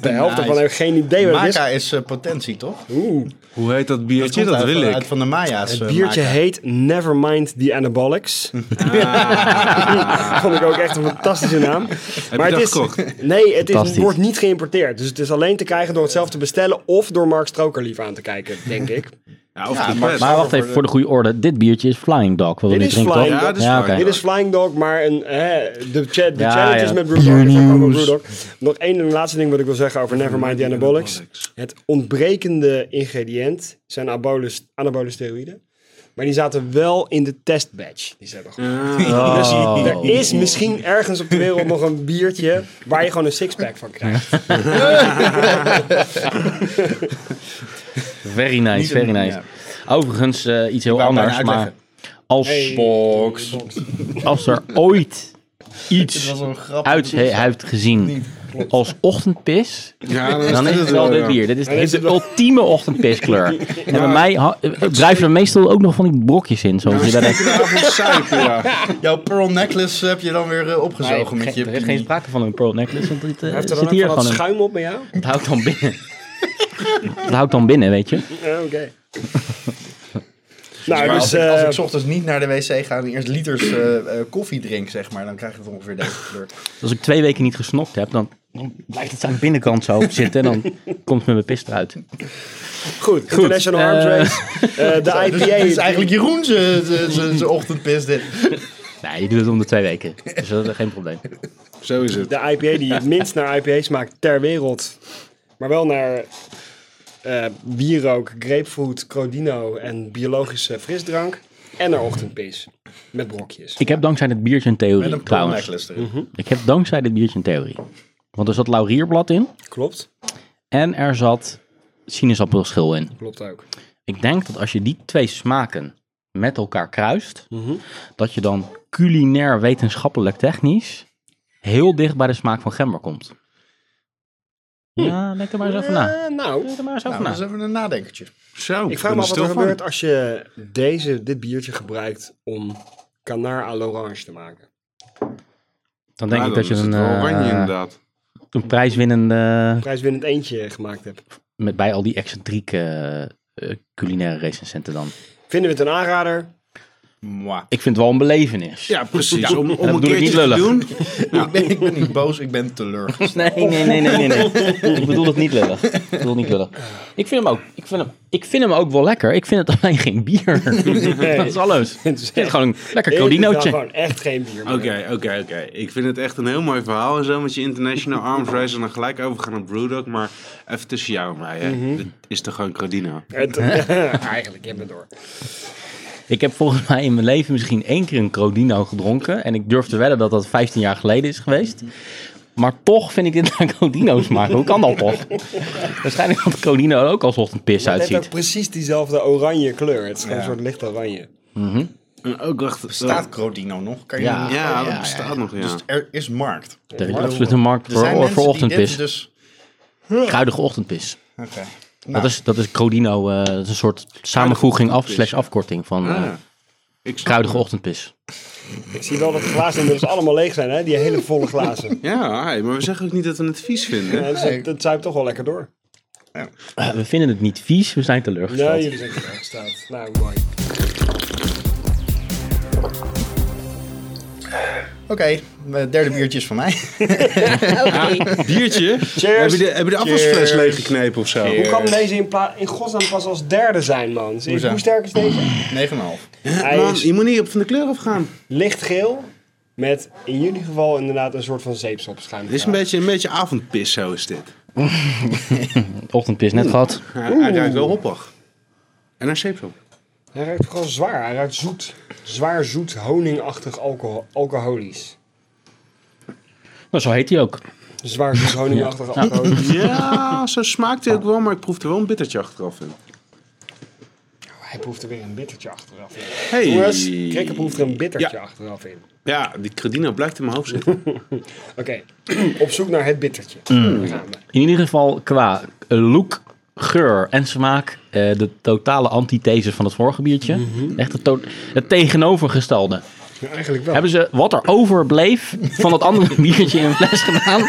De helft
Nice.
ervan heb ik geen idee wat het is.
Maca is eh, potentie, toch?
Oeh.
Hoe heet dat biertje?
komt
Dat,
uit-
wil ik.
Uit van de Maya's.
Het
eh,
biertje
Maca.
heet Nevermind the Anabolics. Ah. Vond ik ook echt een fantastische naam.
je dat
het is,
gekocht?
Nee, het is,
Fantastisch.
wordt niet geïmporteerd. Dus het is alleen te krijgen door het zelf te bestellen of door Mark Stroker lief aan te kijken, denk ik.
Ja, of
Ja,
de
maar-
pers.
Maar wacht
Voor
even,
de-
voor de goede orde. Dit biertje is Flying Dog. Wat we
Dit
nu
is
drinken,
Flying
toch?
Dog. Ja, dit is
Ja,
Flying
oké.
Dit is Flying Dog, maar een, hè, de, cha- de
Ja,
challenge is
ja.
met Brewdog. Dat is ook allemaal Brewdog. Nog één en laatste ding wat ik wil zeggen over Nevermind the Anabolics. Het ontbrekende ingrediënt zijn anabole, anabole steroïden. Maar die zaten wel in de testbatch. Die ze hebben gemaakt. Dus
Oh.
er is misschien ergens op de wereld nog een biertje waar je gewoon een sixpack van krijgt.
Very nice, very
een-
nice. Overigens, eh, iets heel
wou bijna
anders, maar
uitleggen.
als,
Box.
als er ooit
Dit
iets
was een grap.
uit hij heeft gezien als ochtendpis,
Ja,
dan is het wel dit bier. Dit is, heeft de ultieme ochtendpiskleur. En bij mij ha- eh, drijven er meestal ook nog van die brokjes in, zoals je dat denkt.
suiker, ja.
Jouw pearl necklace heb je dan weer eh, opgezogen met je...
er is geen sprake van een pearl necklace, want het eh,
Heeft er dan
zit
ook
hier
van dat
gewoon in.
schuim op met jou?
Het houdt dan binnen. Het houdt dan binnen, weet je.
Ja, Oké. nou,
Maar
dus,
als, ik, als
eh,
ik 's ochtends niet naar de wc ga en eerst liters eh, eh, koffie drink, zeg maar, dan krijg je het ongeveer deze kleur.
Als ik twee weken niet gesnopt heb, dan dan blijft het aan de binnenkant zo zitten. En dan komt het met mijn pis eruit.
goed, International
eh,
Arms Race. Eh, de IPA.
Dus dit is eigenlijk Jeroen zijn ochtendpis dit.
Nee, je doet het om de twee weken. Dus dat is geen probleem.
Zo is het.
De IPA die het minst naar IPA smaakt ter wereld. Maar wel naar eh, wierook, grapefruit, crodino en biologische frisdrank. En naar ochtendpis. Met brokjes.
Ik heb dankzij dit biertje een
Met
theorie,
een pearl
trouwens.
necklace erin.
Ik heb dankzij dit biertje een theorie. Want er zat laurierblad in
Klopt.
en er zat sinaasappelschil in.
Klopt ook.
Ik denk dat als je die twee smaken met elkaar kruist,
Mhm.
dat je dan culinair wetenschappelijk technisch heel dicht bij de smaak van gember komt. Ja, denk er maar eens over na.
Eh, nou,
Denk er maar eens over
Hm. Nou, dat is
na.
even een nadenkertje.
Zo,
ik vraag me af wat er
stil van.
gebeurt als je deze, dit biertje gebruikt om canard à l'orange te maken.
Dan denk
Ja,
ik dat je
is
een,
het wel oranje,
eh,
inderdaad.
een prijswinnende
Prijswinnend eentje gemaakt hebt.
met bij al die excentrieke eh, eh, culinaire recensenten dan.
Vinden we het een aanrader?
Mwah.
Ik vind het wel een belevenis.
Ja, precies. Om, om
dat
een
bedoel ik niet
keertje te
lullig.
doen.
Ik,
Nou.
ben, ik ben niet boos, ik ben teleurgesteld.
Nee, nee, nee, nee, nee, nee. Ik bedoel het niet lullig. Ik bedoel het niet lullig. Ik vind hem ook, ik vind hem, ik vind hem ook wel lekker. Ik vind het alleen geen bier. Dat is alles. Het is gewoon een lekker
Ik vind nou
codinootje.
gewoon echt geen bier. meer.
Oké, oké, oké. Ik vind het echt een heel mooi verhaal en zo met je International Arms Race en dan gelijk overgaan naar Brewdog. Maar even tussen jou en mij, hè. Dit is toch gewoon Crodino?
Het- eigenlijk, je bent door.
Ik heb volgens mij in mijn leven misschien één keer een crodino gedronken. En ik durf te wedden dat dat 15 jaar geleden is geweest. Maar toch vind ik dit naar crodino smaken. Hoe kan dat toch? Waarschijnlijk dat crodino er ook als ochtendpis
Het heeft ook
uitziet.
precies diezelfde oranje kleur. Het is gewoon een soort licht oranje.
Oké, En ook wacht.
Bestaat Crodino nog? Kan je Oh,
Ja.
nog-
Ja, dat bestaat nog, ja.
Dus er is markt.
Er is absoluut een markt
Er zijn
voor,
mensen
voor
die
ochtendpis.
dit dus...
Kruidige ochtendpis.
Oké.
Dat, is, dat is Crodino, eh, dat is een soort samenvoeging af slash afkorting van eh,
Ah, ik snap
kruidige
hem.
ochtendpis.
Ik zie wel dat de glazen inmiddels allemaal leeg zijn, hè? Die hele volle glazen.
Ja, hey, maar we zeggen ook niet dat we het vies vinden.
Ja, dus het- het zuipt toch wel lekker door.
Eh, we vinden het niet vies, we zijn teleurgesteld.
Ja, jullie zijn teleurgesteld. Nou, mooi.
Oké, mijn derde biertje is van mij.
Biertje?
Cheers.
Heb je de, heb je de
Cheers.
appelsfles leeggeknepen of zo?
Hoe kan deze in, pla- in godsnaam pas als derde zijn, man? Zie je,
Hoezo?
Hoe sterk is deze?
9,5.
Hij
Man,
is
je moet niet op van de kleur afgaan.
lichtgeel met in jullie geval inderdaad een soort van zeepsopschuim.
Dit is een beetje, een beetje avondpis, zo is dit.
Ochtendpis
Hmm.
net gehad.
Hij, hij ruikt wel hoppig. En hij zeep op.
Hij ruikt vooral zwaar. Hij ruikt zoet. Zwaar zoet, honingachtig alcohol, alcoholisch.
Nou, zo heet hij ook.
Zwaar zoet, honingachtig alcoholisch.
Ja, zo smaakt hij ook wel, maar ik proef er wel een bittertje achteraf in.
Hij proeft er weer een bittertje achteraf in.
Hey.
Jongens, Krikke proeft er een bittertje
Ja.
achteraf in.
Ja, die Credino blijft in mijn hoofd zitten.
Oké, op zoek naar het bittertje.
Mm.
Daar gaan we.
In ieder geval qua eh, look, geur en smaak eh, de totale antithese van het vorige biertje.
Mhm.
Echt het, to- het tegenovergestelde.
Ja, eigenlijk wel.
Hebben ze wat er overbleef van dat andere biertje in een fles gedaan?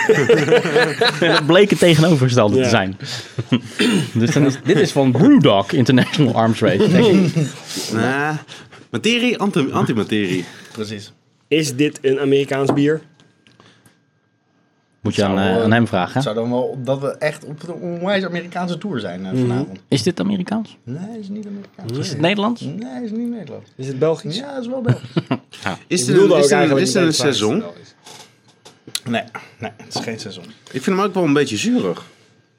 en het bleek het tegenovergestelde
Ja.
te zijn. dus dan is, dit is van Brewdog International Arms Race. denk ik.
Nah, materie, anti- antimaterie.
Precies.
Is dit een Amerikaans bier?
Moet je aan,
Zou,
eh,
eh,
aan hem vragen.
Het
hè?
zou dan wel dat we echt op de onwijs Amerikaanse tour zijn eh, vanavond.
Is dit Amerikaans?
Nee, dat is niet Amerikaans.
Is het Nederlands?
Nee, dat is niet Nederland.
Is het Belgisch?
Ja, dat is wel Belgisch.
Is
Ik
dit een,
bedoelde
is
ook
dit een,
eigenlijk
is dit een
meteen het
seizoen?
Belgisch.
Nee, nee, het is geen seizoen.
Ik vind hem ook wel een beetje zuurig.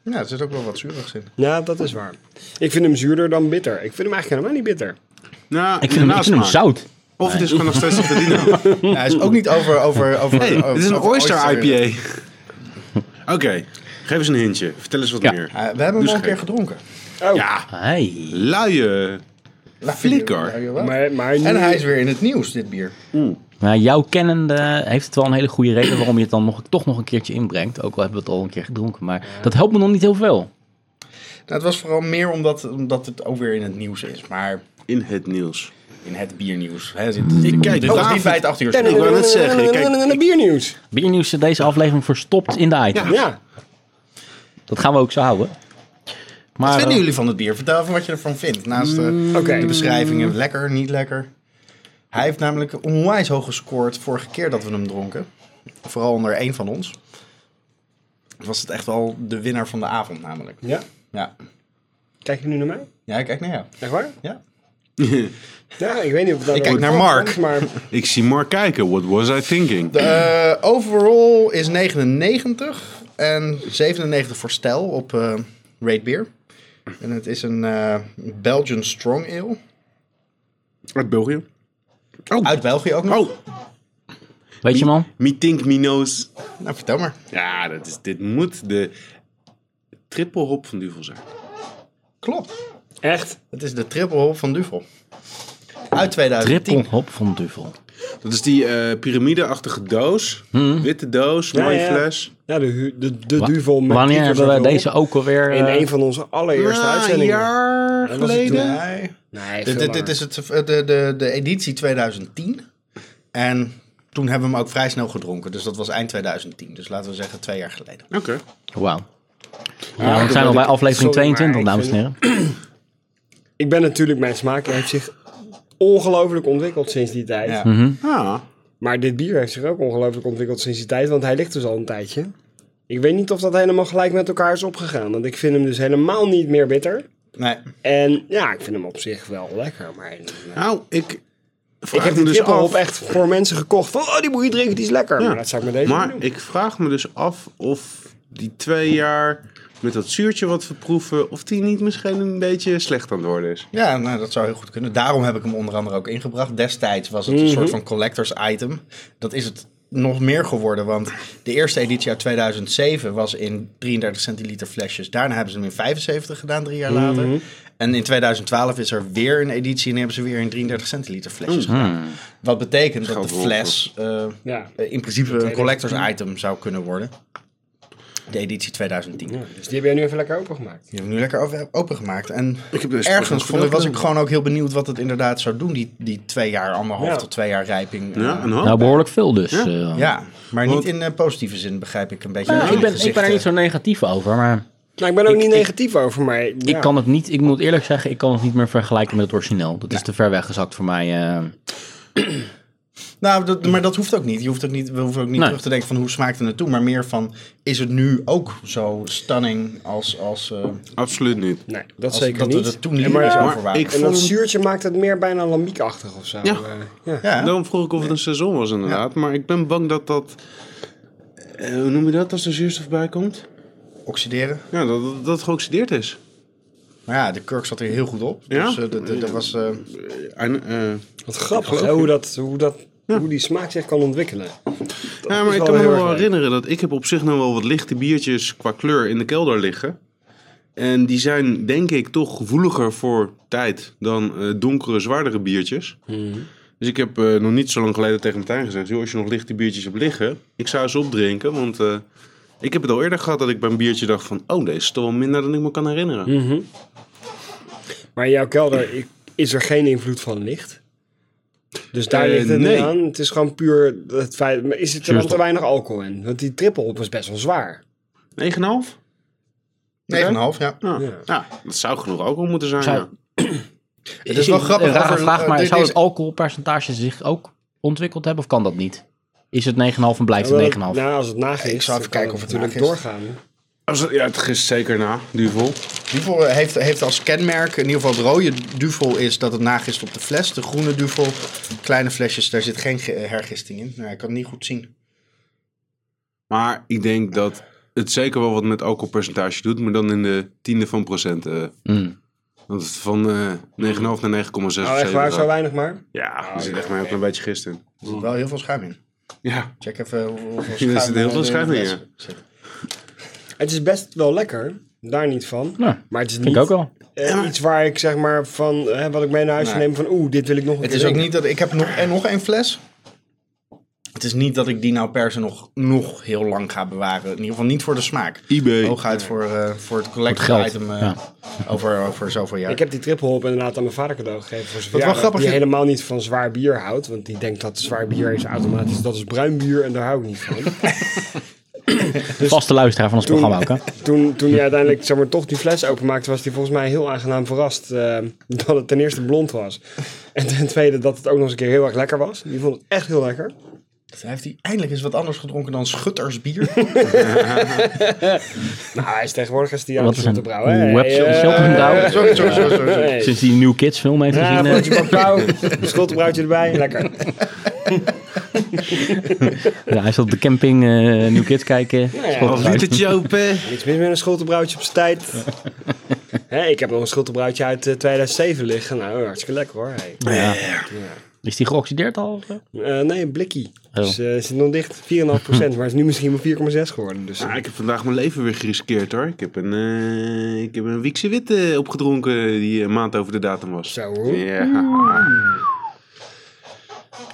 Ja, er zit ook wel wat zuurigs in.
Ja, dat is waar. Ik vind hem zuurder dan bitter. Ik vind hem eigenlijk helemaal niet bitter.
Nou,
Ik vind hem, ik vind hem zout.
Of het is gewoon nog steeds een Credino.
Ja, hij is ook niet over... over, over
Hey,
over-
Eh, dit is een
over
Oh, oyster IPA. Oké, geef eens een hintje. Vertel eens wat
Ja.
meer.
Eh, we hebben hem al een
Doe
keer
eens
gedronken.
Oh,
Ja,
Hey.
luie.
La-
Flikker.
Ja, jawel.
maar, maar nu...
En hij is weer in het nieuws, dit bier.
Maar jouw kennende heeft het wel een hele goede reden waarom je het dan nog, toch nog een keertje inbrengt. Ook al hebben we het al een keer gedronken. Maar dat helpt me nog niet heel veel.
Nou, het was vooral meer omdat, omdat het ook weer in het nieuws is. Maar
In het nieuws.
in het biernieuws. Hè, dit, dit,
Ik kijk
Oh,
dit was niet bij het acht uur.
Ik wou net zeggen, kijk,
Biernieuws.
Biernieuws is deze aflevering verstopt in de item.
Ja.
Dat gaan we ook zo houden.
Wat
Maar
vinden
eh, Mm,
jullie van het bier? Vertel even wat je ervan vindt. Naast de,
oké.
de beschrijvingen. Lekker, niet lekker. Hij heeft namelijk onwijs hoog gescoord vorige keer dat we hem dronken. Vooral onder één van ons. Was het echt wel de winnaar van de avond namelijk.
Ja.
Ja,
Kijk je nu naar mij?
ja kijk naar jou.
Echt waar?
Ja.
Ja, ik weet niet of het
Ik kijk
door
naar
het
Mark.
komt, Maar
Ik zie Mark kijken. What was I thinking?
Eh, overall is 99 en 97 voor stijl op eh Rate Beer. En het is een eh, Belgian Strong Ale.
Uit België.
Uit België ook nog.
Oh,
weet je man,
me think me knows.
Nou, vertel maar.
Ja, dat is, dit moet de triple hop van Duvel zijn.
Klopt.
echt.
Het is de triple hop van Duvel. Uit 2010.
triple hop van Duvel.
Dat is die eh piramideachtige doos. Witte doos,
Hmm. Ja,
mooie
ja.
fles.
Ja, de, hu- de, de duvel met
Wanneer
drie keer
hebben we
zoveel
deze
op?
ook alweer...
In
eh,
een van onze allereerste
Ah, een
uitzendingen.
jaar
was het
geleden.
Nee.
Nee,
Dit, dit, dit is het, eh, de, de, de editie 2010. En toen hebben we hem ook vrij snel gedronken. Dus dat was eind 2010. Dus laten we zeggen twee jaar geleden.
Oké.
Wauw. Nou, we zijn al bij aflevering
sorry, maar
22,
ik
dames en
vind-
heren.
Ik ben natuurlijk, mijn smaak heeft zich ongelooflijk ontwikkeld sinds die tijd.
Ja.
Ah,
Maar dit bier heeft zich ook ongelooflijk ontwikkeld sinds die tijd, want hij ligt dus al een tijdje. Ik weet niet of dat helemaal gelijk met elkaar is opgegaan, want ik vind hem dus helemaal niet meer bitter.
Nee.
En ja, ik vind hem op zich wel lekker, maar...
nou, ik...
Ik
vraag
heb
me
die
dus
triple
af-
op echt voor mensen gekocht. Van, oh, die moet je drinken, die is lekker. Maar dat zou ik met deze niet
Maar
doen.
ik vraag me dus af of die twee jaar met dat zuurtje wat we proeven, of die niet misschien een beetje slecht aan het worden is.
Ja, nou, dat zou heel goed kunnen. Daarom heb ik hem onder andere ook ingebracht. Destijds was het een soort van collectors item. Dat is het nog meer geworden. Want de eerste editie uit 2007 was in 33 centiliter flesjes. Daarna hebben ze hem in 75 gedaan, drie jaar later. En in 2012 is er weer een editie en hebben ze weer in 33 centiliter flesjes gedaan. Wat betekent dat de
Grote
fles eh,
Ja.
eh, in principe een collectors item zou kunnen worden. De editie 2010.
Ja, dus die heb jij nu even lekker opengemaakt.
Die heb ik nu lekker over- opengemaakt. En
Ik heb deze
ergens
podcast
vond, ik- was ik
gedaan.
gewoon ook heel benieuwd wat het inderdaad zou doen. Die, die twee jaar, anderhalf
Ja.
tot twee jaar rijping. eh,
Ja, een hoop.
Nou, behoorlijk veel dus. eh.
ja, maar
Want-
niet in eh, positieve zin begrijp ik een beetje.
Nou,
jullie
ik, ben, ik ben
gezichten.
er niet zo negatief over, maar
Nou, ik ben er ook
Ik-
niet
ik-
negatief over, maar...
ik kan het niet, ik moet eerlijk zeggen, ik kan het niet meer vergelijken met het origineel. Dat is te ver weggezakt voor mij. eh.
Nou, dat, maar dat hoeft ook niet. Je hoeft ook niet, we hoeven ook niet
Nee.
terug te denken van hoe smaakte het toen. Maar meer van, is het nu ook zo stunning als, als, eh,
Absoluut niet.
Nee, dat
als
zeker
dat
niet.
we er toen
En
niet
maar-
meer
en
over waren?
ik
dat
vond-
zuurtje maakt het meer bijna lambiekachtig of zo.
Ja.
eh, ja.
ja.
Daarom vroeg ik of het een seizoen was inderdaad. Maar ik ben bang dat dat... eh, hoe noem je dat als er zuurstof bij komt?
oxideren.
Ja, dat, dat, dat het geoxideerd is.
Maar ja, de kurk zat er heel goed op.
Ja?
Dus eh, dat, dat, dat was... eh,
Eh, en, eh,
Wat grappig, hè, hoe, dat, hoe, dat, hoe die smaak zich kan ontwikkelen.
ja,
is
maar ik
wel
kan me
heel
nog
erg
wel
leuk.
herinneren dat ik heb op zich nog wel wat lichte biertjes qua kleur in de kelder liggen. En die zijn denk ik toch gevoeliger voor tijd dan eh, donkere, zwaardere biertjes.
Mhm.
Dus ik heb eh, nog niet zo lang geleden tegen Martijn gezegd... Joh, als je nog lichte biertjes hebt liggen, ik zou ze opdrinken. Want eh, ik heb het al eerder gehad dat ik bij een biertje dacht van... oh, deze is toch wel minder dan ik me kan herinneren.
Mhm. Maar in jouw kelder i- is er geen invloed van licht. Dus daar
Eh,
ligt het
nee.
niet aan. Het is gewoon puur het feit... maar Is het er dan
Zuurstof.
te weinig alcohol in? Want die triple op is best wel zwaar.
9,5?
9,5, ja.
Ja.
Ja.
Ja. dat zou genoeg alcohol moeten zijn.
Zou-
ja.
Het is wel grappig.
Een eh, rare
over-
vraag, maar
eh, dit
zou
is-
het alcoholpercentage zich ook ontwikkeld hebben of kan dat niet? Is het 9,5 en blijft
Wel,
het 9,5?
Nou, als het nagist,
Ik zou even
dan
kijken
kan het
of het
natuurlijk
nagist.
doorgaan.
Als het- ja, het gist zeker na, duvel.
Duvel eh, heeft, heeft als kenmerk, in ieder geval het rode duvel is dat het nagist op de fles. De groene duvel, kleine flesjes, daar zit geen ge- hergisting in. Nou, ik kan het niet goed zien.
Maar ik denk dat het zeker wel wat met alcoholpercentage doet, maar dan in de tiende van procent. eh
Mm.
want het van eh 9,5 naar 9,6 of
Nou, echt
zeven
waar,
gaat.
zo Oh, weinig maar.
Ja, er zit echt maar een klein beetje gist in.
Er zit wel heel veel schuim in.
Ja,
Check even hoe- hoeveel
Mm. zit
schuim
heel veel
er in
schuim
de
in,
fles
ja.
zit.
Het is best wel lekker, daar niet van.
Nou,
maar het is
Vind
niet
ik ook wel.
eh, iets waar ik zeg maar van, hè, wat ik mee naar huis
Nee.
neem van oeh, dit wil ik nog een
Het
keer
is ook
drinken.
niet dat ik heb nog, en nog één fles. Het is niet dat ik die nou per se nog, nog heel lang ga bewaren. In ieder geval niet voor de smaak.
eBay.
Hooguit voor, eh, voor het
Voor
collector
het geld,
item eh,
ja.
over, over zoveel jaar.
Ik heb die triple hop inderdaad aan mijn vader cadeau gegeven voor zijn verjaardag.
grappig
die
is-
helemaal niet van zwaar bier houdt. Want die denkt dat zwaar bier is automatisch, dat is bruin bier en daar hou ik niet van.
Vaste luisteraar van ons programma ook, hè?
toen, toen hij uiteindelijk zeg maar, toch die fles openmaakte, was hij volgens mij heel aangenaam verrast. eh, dat het ten eerste blond was. En ten tweede dat het ook nog eens een keer heel erg lekker was. Die vond het echt heel lekker.
Hij heeft hij eindelijk eens wat anders gedronken dan schuttersbier.
Nou, hij is tegenwoordig is die aan
Wat
het
is een
zotten brouwen. hè.
webshop-
Hey, eh,
shoppen brouwen?
sorry, sorry, sorry, sorry.
hey.
Sinds die New Kids film heeft
Ja,
gezien. eh,
broodje bakpauw, schottenbroodje erbij, lekker.
ja, hij zat op de camping eh, New Kids kijken. Schot
Als
eruit.
litertje open.
Niks mis met een schottenbroodje op zijn tijd. Hè, ik heb nog een schottenbroodje uit eh, 2007 liggen. Nou, hartstikke lekker hoor. Hey.
Ja. Is die geoxideerd al? of zo?
Eh, nee, een blikkie.
Oh.
Dus eh, zit nog dicht, 4,5%. maar is nu misschien maar 4,6 geworden. Dus,
Ah.
Nou, ik heb vandaag mijn leven weer geriskeerd hoor. Ik heb een, eh ik heb een Wiekse Witte opgedronken die een maand over de datum was.
Zo, hoor.
Ja.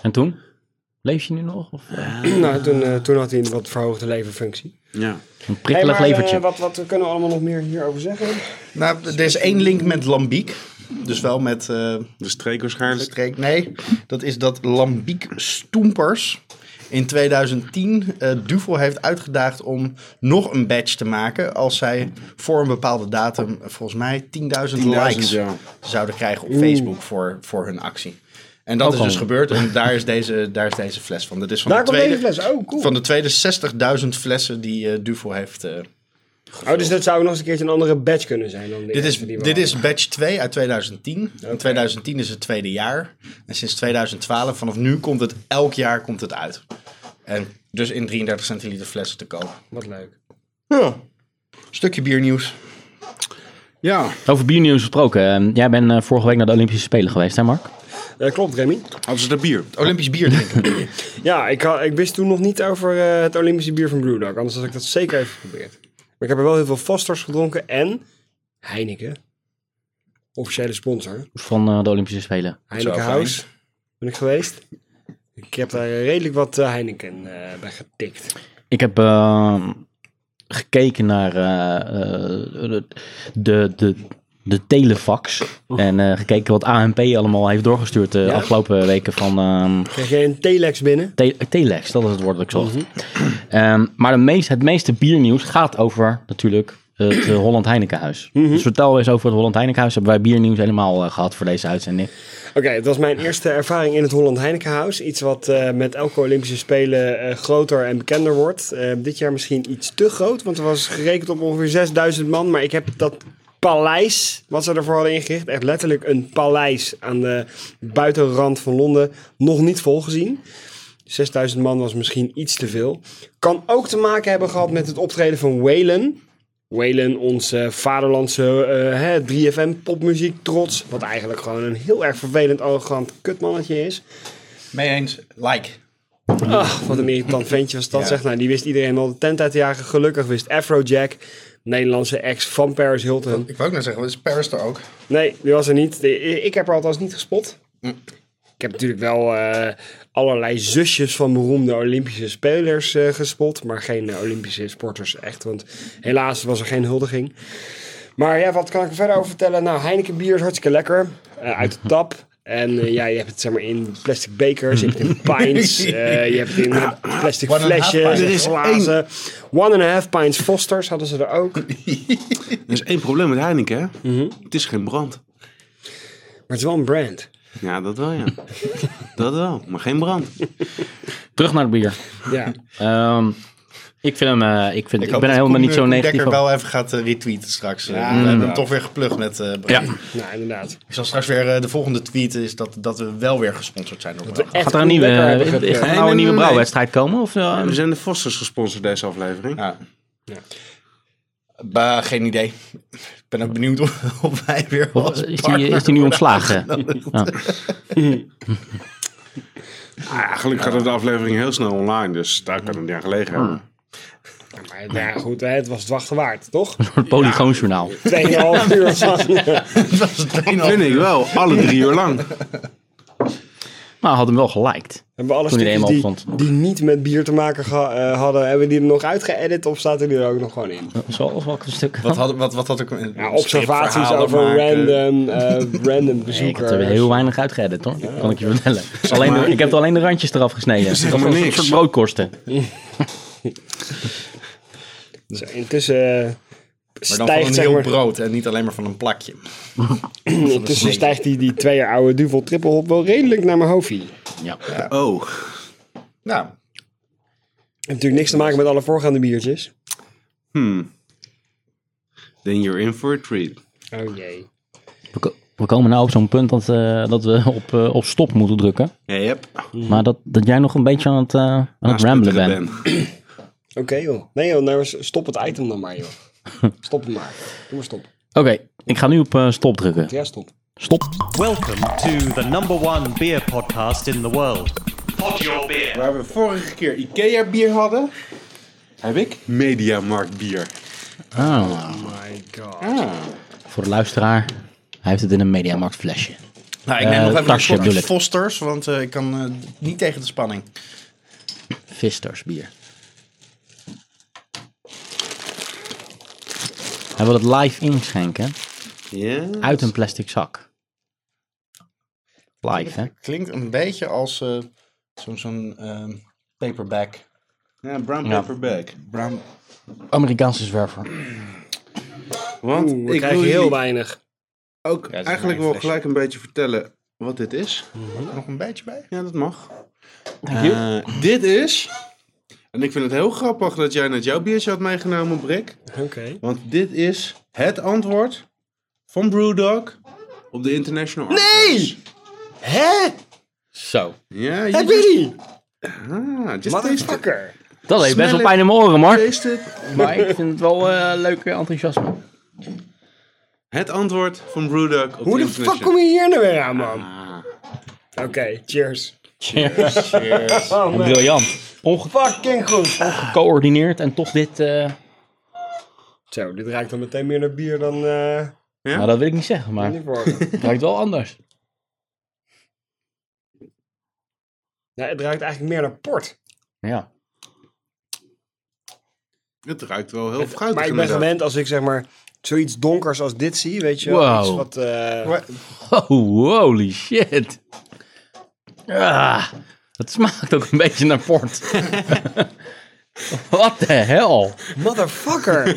En toen? Leef je nu nog? Of, eh,
Nou, toen, eh, toen had hij een wat verhoogde leverfunctie.
ja.
een prikkelig
maar, eh,
levertje.
wat, wat kunnen we allemaal nog meer hierover zeggen?
Nou, d- er is één link met lambiek. Dus wel met eh,
De streek waarschijnlijk.
streek. Nee, dat is dat lambiek stoempers in 2010 eh Duvel heeft uitgedaagd om nog een badge te maken. Als zij voor een bepaalde datum, eh, volgens mij 10.000 likes
ja.
zouden krijgen op Facebook voor, voor hun actie. En dat
Ook
is
al.
dus gebeurd en daar is deze, daar is deze fles van. Dat is van
Daar
de
komt
tweede,
deze fles. Oh, cool.
Van de tweede 60.000 flessen die eh Duvel heeft eh,
Oh, dus dat zou ook nog eens een keertje een andere badge kunnen zijn dan de
Dit is,
eerste die we
dit
hadden.
is batch 2 uit 2010. En 2010 is het tweede jaar. En sinds 2012, vanaf nu komt het elk jaar komt het uit. En dus in 33 centiliter flessen te koop.
Wat leuk.
Ja. Stukje biernieuws.
Ja.
Over biernieuws gesproken. eh, jij bent eh, vorige week naar de Olympische Spelen geweest, hè Mark?
Eh, klopt, Remy.
Hadden ze daar bier?
Olympisch bier drinken.
Ja, ik, ha- ik wist toen nog niet over eh, het Olympische bier van Brewdog. Anders had ik dat zeker even geprobeerd. Maar ik heb er wel heel veel Fosters gedronken en Heineken. Officiële sponsor.
Van eh, de Olympische Spelen.
Heineken
Zo,
House ben ik geweest. Ik heb daar redelijk wat eh, Heineken eh, bij getikt.
Ik heb ehm, gekeken naar eh, eh, de, de, de telefax. En eh, gekeken wat ANP allemaal heeft doorgestuurd de
Ja?
afgelopen weken van ehm,
Kreeg jij een telex binnen?
te- telex. Dat is het woord dat ik zocht. Ehm, maar de meest, het meeste biernieuws gaat over natuurlijk het eh, Holland Heinekenhuis. Dus vertel eens over het Holland Heinekenhuis. Hebben wij biernieuws helemaal eh, gehad voor deze uitzending.
Oké, het was mijn eerste ervaring in het Holland Heinekenhuis. Iets wat eh, met elke Olympische Spelen eh, groter en bekender wordt. Eh, dit jaar misschien iets te groot, want er was gerekend op ongeveer 6000 man. Maar ik heb dat paleis, wat ze ervoor hadden ingericht, echt letterlijk een paleis aan de buitenrand van Londen, nog niet volgezien. 6000 man was misschien iets te veel. Kan ook te maken hebben gehad met het optreden van Waylon. Waylon, onze vaderlandse eh, hè, 3FM popmuziek trots. Wat eigenlijk gewoon een heel erg vervelend, arrogant kutmannetje is.
Mee eens, like.
Ach, wat een irritant ventje was dat.
Ja.
Zeg, nou, die wist iedereen al de tent uit te jagen. Gelukkig wist Afrojack, Nederlandse ex van Paris Hilton.
Ik wou ook net zeggen, wat is Paris er ook?
Nee, die was er niet. De- Ik heb haar althans niet gespot.
Hm.
Ik heb natuurlijk wel eh, allerlei zusjes van beroemde Olympische spelers eh, gespot. Maar geen eh, Olympische sporters echt. Want helaas was er geen huldiging. Maar ja, wat kan ik er verder over vertellen? Nou, Heineken bier is hartstikke lekker. eh, uit de tap. En eh, ja, je hebt het zeg maar in plastic bekers, je hebt het in pints, eh, je hebt het in eh, plastic
One and a half
flesjes,
pint.
Er
in
is
glazen. One and a half pints Fosters hadden ze er ook.
Er is één probleem met Heineken, hè?
Mhm.
Het is geen brand.
Maar het is wel een brand.
Ja, dat wel, ja. dat wel, maar geen brand.
Terug naar het bier.
Ja.
Ehm, ik, vind hem, eh, ik, vind, ik,
hoop
ben er helemaal
dat Koen- eh,
niet zo
Koen
negatief
Dekker
over.
wel even gaat eh, retweeten straks. Eh,
Ja,
we hebben hem
inderdaad.
toch weer geplukt met eh Brian.
Ja.
Nou, inderdaad.
Ik zal straks weer eh, de volgende tweet is dat, dat we wel weer gesponsord zijn door Brouwer.
Gaat er een nieuwe,
lekker
eh,
hebben
gaat er
gegeven.
Nee,
nou
nee,
een nieuwe
nee,
brouwwedstrijd komen? Of, eh,
We zijn de Fosters gesponsord deze aflevering.
Ja. Bah, geen idee. Ik ben ook benieuwd of, of wij weer
Wat-
als
is, die,
partner
is die nu
worden
ontslagen? Ja.
Ah, gelukkig gaat de aflevering heel snel online, dus daar kan het niet aan gelegen hebben.
Maar nou ja, goed, hè, het was het wachten waard, toch?
Het Polygoonjournaal.
2,5 uur lang.
Het was het een al-
Vind ik wel, alle drie uur lang.
Maar hij had hem wel geliked.
Hebben we alle
Toen hij er
stukjes
eenmaal
die, die niet met bier te maken geha- eh, hadden, hebben we die er nog uitgeëdit of staat hij er ook nog gewoon in?
Zoals welk stuk.
Wat had, wat, wat had ik... een-
Ja,
een
observaties
stripverhalen
over
maken.
random, eh, random
Nee, ik heb
bezoekers.
er heel weinig uitgeëdit hoor, kan ik je vertellen. Alleen de- ik heb er alleen de randjes eraf gesneden.
Zeg
Dat
maar
was een
niks.
soort broodkorsten.
Zo, Dus intussen eh,
Maar dan van
stijgt,
een
zeg
heel
maar,
brood en niet alleen maar van een plakje. Nou,
intussen stijgt die, die twee jaar oude duvel triple hop wel redelijk naar mijn hoofdie.
Ja.
Oh,
Heeft
Nou,
natuurlijk niks te maken met alle voorgaande biertjes.
then you're in for a treat.
Oh jee.
We, ko- we komen nou op zo'n punt dat, eh, dat we op, eh, op stop moeten drukken.
Yep.
Maar dat, dat jij nog een beetje aan het, eh, aan het ramblen
Spittere
bent.
Ben.
Oké joh. Nee joh, nou, stop het item dan maar joh. Stop het maar. Doe maar stop.
Oké, ik ga nu op eh, stop drukken.
Ja, stop.
Stop.
Welcome to the number one beer podcast in the world. Pod your beer.
Waar we vorige keer Ikea bier hadden, heb ik Mediamarkt bier. Oh
Ah,
My god.
voor de luisteraar, hij heeft het in een Mediamarkt flesje.
nou ik neem
Eh,
nog even
tasje
een slok
bedoel ik.
Fosters, want eh, ik kan eh, niet tegen de spanning.
Visters bier. Hij wil het live inschenken
Ja.
uit een plastic zak. Live, hè?
Klinkt een beetje als eh, zo'n zo'n, ehm, paperback.
Ja, brown paper bag.
Brown.
Amerikaanse zwerver.
Want
Oeh, we
ik
krijgen
wil
heel
jullie
weinig.
ook
is
eigenlijk
mijn
wel
flesje.
gelijk een beetje vertellen wat dit is.
Hoort er nog een beetje bij?
Ja, dat mag. Eh, dit is... En ik vind het heel grappig dat jij net jouw biertje had meegenomen, Brik.
Oké.
Want dit is het antwoord van Brewdog op de International Archives.
Hè?
Zo.
Ja,
Heb
je...
je die?
Ah, just taste it.
Motherfucker.
Dat heeft best wel
Smell
pijn in mijn oren, hoor.
Taste it.
Maar ik vind het wel eh leuk eh, enthousiasme.
Het antwoord van Brewdog op
Hoe
de
de fuck
International...
kom je hier nou weer aan, man?
Ah,
Oké, cheers. Oh, nee.
Briljant.
Fucking goed.
Ongecoördineerd en toch dit... eh,
Zo, dit ruikt dan meteen meer naar bier dan eh
Ja?
Nou, dat wil ik niet zeggen, maar
uniform.
het ruikt wel anders.
nee, het ruikt eigenlijk meer naar port.
Ja.
Het ruikt wel heel fruitig.
maar ik ben
inderdaad.
gewend als ik zeg maar zoiets donkers als dit zie, weet je wel.
Wow.
Iets wat, eh,
Oh, holy shit. Ah, het smaakt ook een beetje naar port. Wat de hel?
Motherfucker!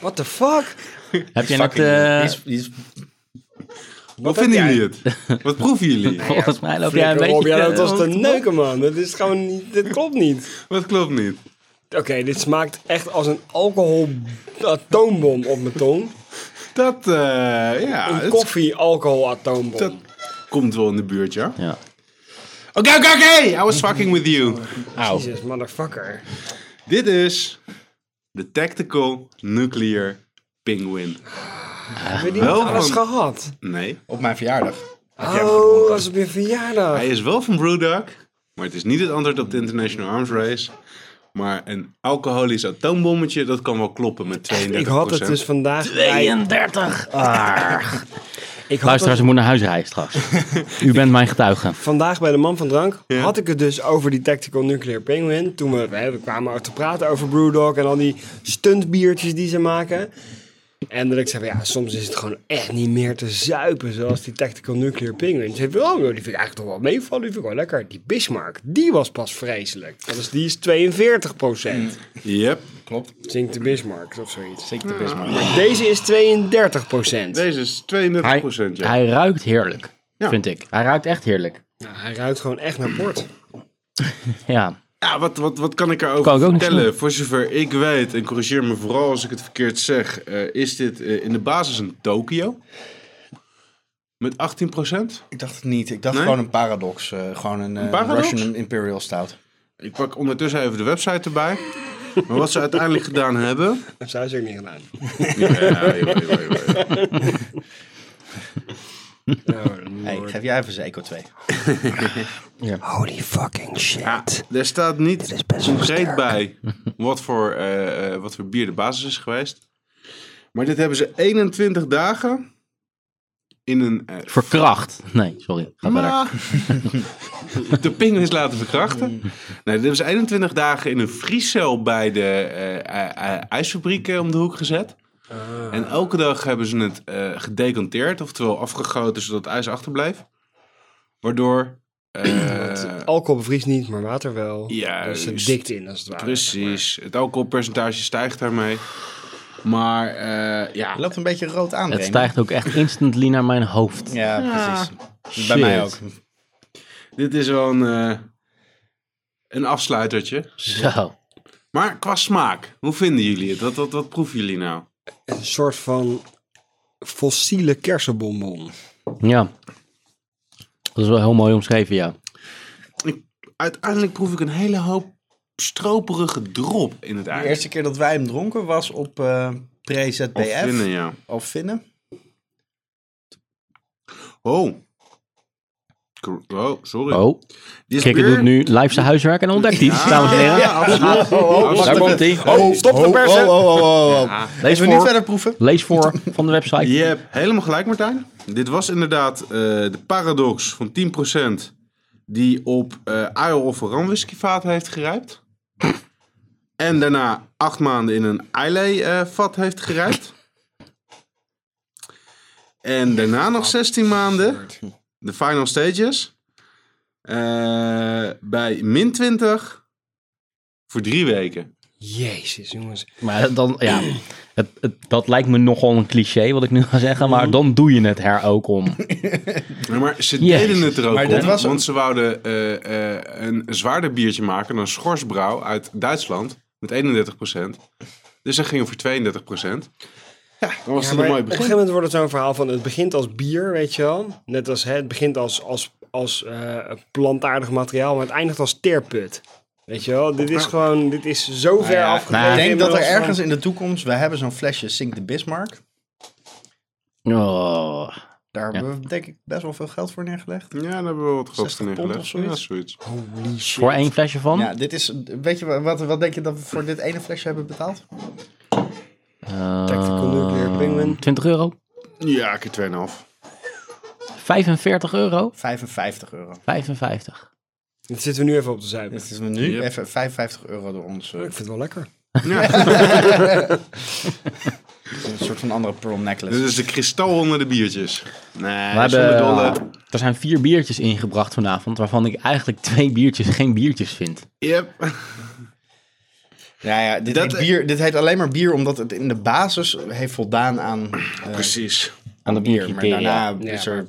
What the fuck?
Heb je net...
Fucking-
eh,
die is- die is-
Wat vinden jullie het? Wat proeven jullie?
volgens mij loop jij een beetje...
Rob, ja, dat was
eh,
te neuken, man. Dat is gewoon niet, dit klopt niet.
Wat klopt niet?
Oké, dit smaakt echt als een alcohol-atoombom op mijn tong.
Dat, eh, ja,
Een
het
koffie-alcohol-atoombom.
dat komt wel in de buurt, ja.
Ja.
Oké, oké, oké! I was fucking with you.
Auw.
Jezus, motherfucker.
Dit is de Tactical Nuclear Penguin.
Heb je die
Wel
niet alles
van-
gehad?
Nee,
op mijn verjaardag.
Oh, was op je verjaardag.
hij is wel van Brewdog, maar het is niet het antwoord op de International Arms Race. Maar een alcoholisch atoombommetje, dat kan wel kloppen met 32%.
Ik had het dus vandaag bij...
32!
Ik had het
Luisteraars, ik moet naar huis rijden straks. U bent mijn getuige.
vandaag bij de man van drank had ik het dus over die Tactical Nuclear Penguin. Toen we, hè, we kwamen te praten over Brewdog en al die stuntbiertjes die ze maken. En dat ik zei, van, ja, soms is het gewoon echt niet meer te zuipen zoals die Tactical Nuclear Penguin. Ze zei, van, oh, die vind ik eigenlijk toch wel meevallen, die vind ik wel lekker. Die Bismarck, die was pas vreselijk. Dat is, die is 42 procent,
dus-
Yep.
Klopt.
zingt de Bismarck of zoiets.
Zeker de best, man.
Deze is 32 procent.
Deze is 32%,
Hij,
ja.
hij ruikt heerlijk,
Ja.
vind ik. Hij ruikt echt heerlijk.
hij ruikt gewoon echt naar port.
Ja.
Ja, wat, wat, wat kan ik erover
Kan ik ook niks
vertellen? Voor zover ik weet, en corrigeer me vooral als ik het verkeerd zeg, eh, is dit eh, in de basis een Tokio. Met 18
Ik dacht het niet. Ik dacht
Nee?
gewoon een paradox. eh, gewoon een, eh,
paradox?
Russian Imperial Stout.
Ik pak ondertussen even de website erbij. Maar wat ze uiteindelijk gedaan hebben...
Dat zou ze ook niet gedaan.
Ja, joh, joh, joh, joh.
Hey, geef jij even zijn Eco 2.
Holy fucking shit.
Ja, er staat niet
is best wel
concreet bij wat voor, eh, eh, wat voor bier de basis is geweest. Maar dit hebben ze 21 dagen in een... eh,
Verkracht. Nee, sorry. Ga verder.
Maar de pinguïns laten verkrachten. Nee, dit was 21 dagen in een vriescel bij de eh, eh, eh, ijsfabriek eh, om de hoek gezet. En elke dag hebben ze het eh, gedecanteerd, oftewel afgegoten zodat het ijs achterbleef. Waardoor. eh,
Alcohol bevriest niet, maar water wel.
Ja,
dus het
dus-
dikt in als het ware.
precies, het alcoholpercentage stijgt daarmee. Maar eh, ja,
Hij loopt een beetje rood aan.
Het
Remy.
stijgt ook echt instantly naar mijn hoofd.
Ja,
Ah.
precies. Bij mij ook.
Shit.
dit is wel een, eh, een afsluitertje.
Zo.
Maar qua smaak, hoe vinden jullie het? Wat, wat, wat proeven jullie nou?
Een soort van fossiele kersenbonbon.
Ja. Dat is wel heel mooi omschreven, ja.
Ik- uiteindelijk proef ik een hele hoop stroperige drop in het
De
ijs.
eerste keer dat wij hem dronken was op eh
Of vinden,
pre-ZBF.
ja.
Of vinnen.
Oh. Cor- Oh, sorry.
Oh,
Dit
Kikker
bier-
doet nu live zijn huiswerk en ontdekt iets, dames en heren.
Ja, absoluut.
Daar komt hij.
stop de
pers.
pers,
Oh,
hè?
oh, oh, oh, oh.
Lees
Even niet
voor,
verder proeven.
lees voor van de website.
Je hebt helemaal gelijk, Martijn. Dit was inderdaad eh, de paradox van 10% die op eh Isle of Ram whiskyvaat heeft gerijpt. En daarna acht maanden in een Islay-vat heeft gerijpt. En daarna nog 16 maanden, de final stages, eh, bij min 20 voor drie weken.
Jezus, jongens.
Maar dan, ja, het, het- dat lijkt me nogal een cliché wat ik nu ga zeggen, maar dan doe je het her ook om.
Ja, maar ze
Jezus.
deden het er ook
Maar
om,
dat was-
want ze wouden eh, eh, een zwaarder biertje maken dan Schorsbrouw uit Duitsland met 31%. Dus ze gingen voor 32%. Ja, dan was
Ja,
het
maar
een
op
mooi
een gegeven
begin.
moment wordt het zo'n verhaal van het begint als bier, weet je wel. Net als hè, het begint als, als, als eh, plantaardig materiaal, maar het eindigt als teerput. Weet je wel, dit is gewoon, dit is zo ver
Ja,
afgedreven.
nou,
ik denk dat er
inmiddels van-
ergens in de toekomst, we hebben zo'n flesje Sink de Bismarck.
Oh,
Daar
Ja.
hebben we denk ik best wel veel geld voor neergelegd.
Ja, daar hebben we wat geld
60
voor
pond
neergelegd.
of
Ja,
zoiets.
zoiets.
Holy shit.
Voor één flesje van?
Ja, dit is, weet je, wa- wat, wat denk je dat we voor dit ene flesje hebben betaald?
Eh,
Tactical Nuclear Penguin.
20 euro?
Ja, keer 2,5.
45 euro?
55 euro.
55.
Dit zitten we nu even op de zuipen.
Dit is nu
Yep.
even 55 euro door ons. eh,
Ik vind het wel lekker.
een soort van andere pearl necklace.
Dit is de kristal onder de biertjes. Nee,
We
zonder
hebben,
dolle.
er zijn vier biertjes ingebracht vanavond, waarvan ik eigenlijk twee biertjes geen biertjes vind.
Yep.
Ja, Nou ja dit,
Dat-
heet bier, dit heet alleen maar bier omdat het in de basis heeft voldaan aan, eh,
Precies.
Aan de
bier. Maar
criteria.
daarna
Ja,
is er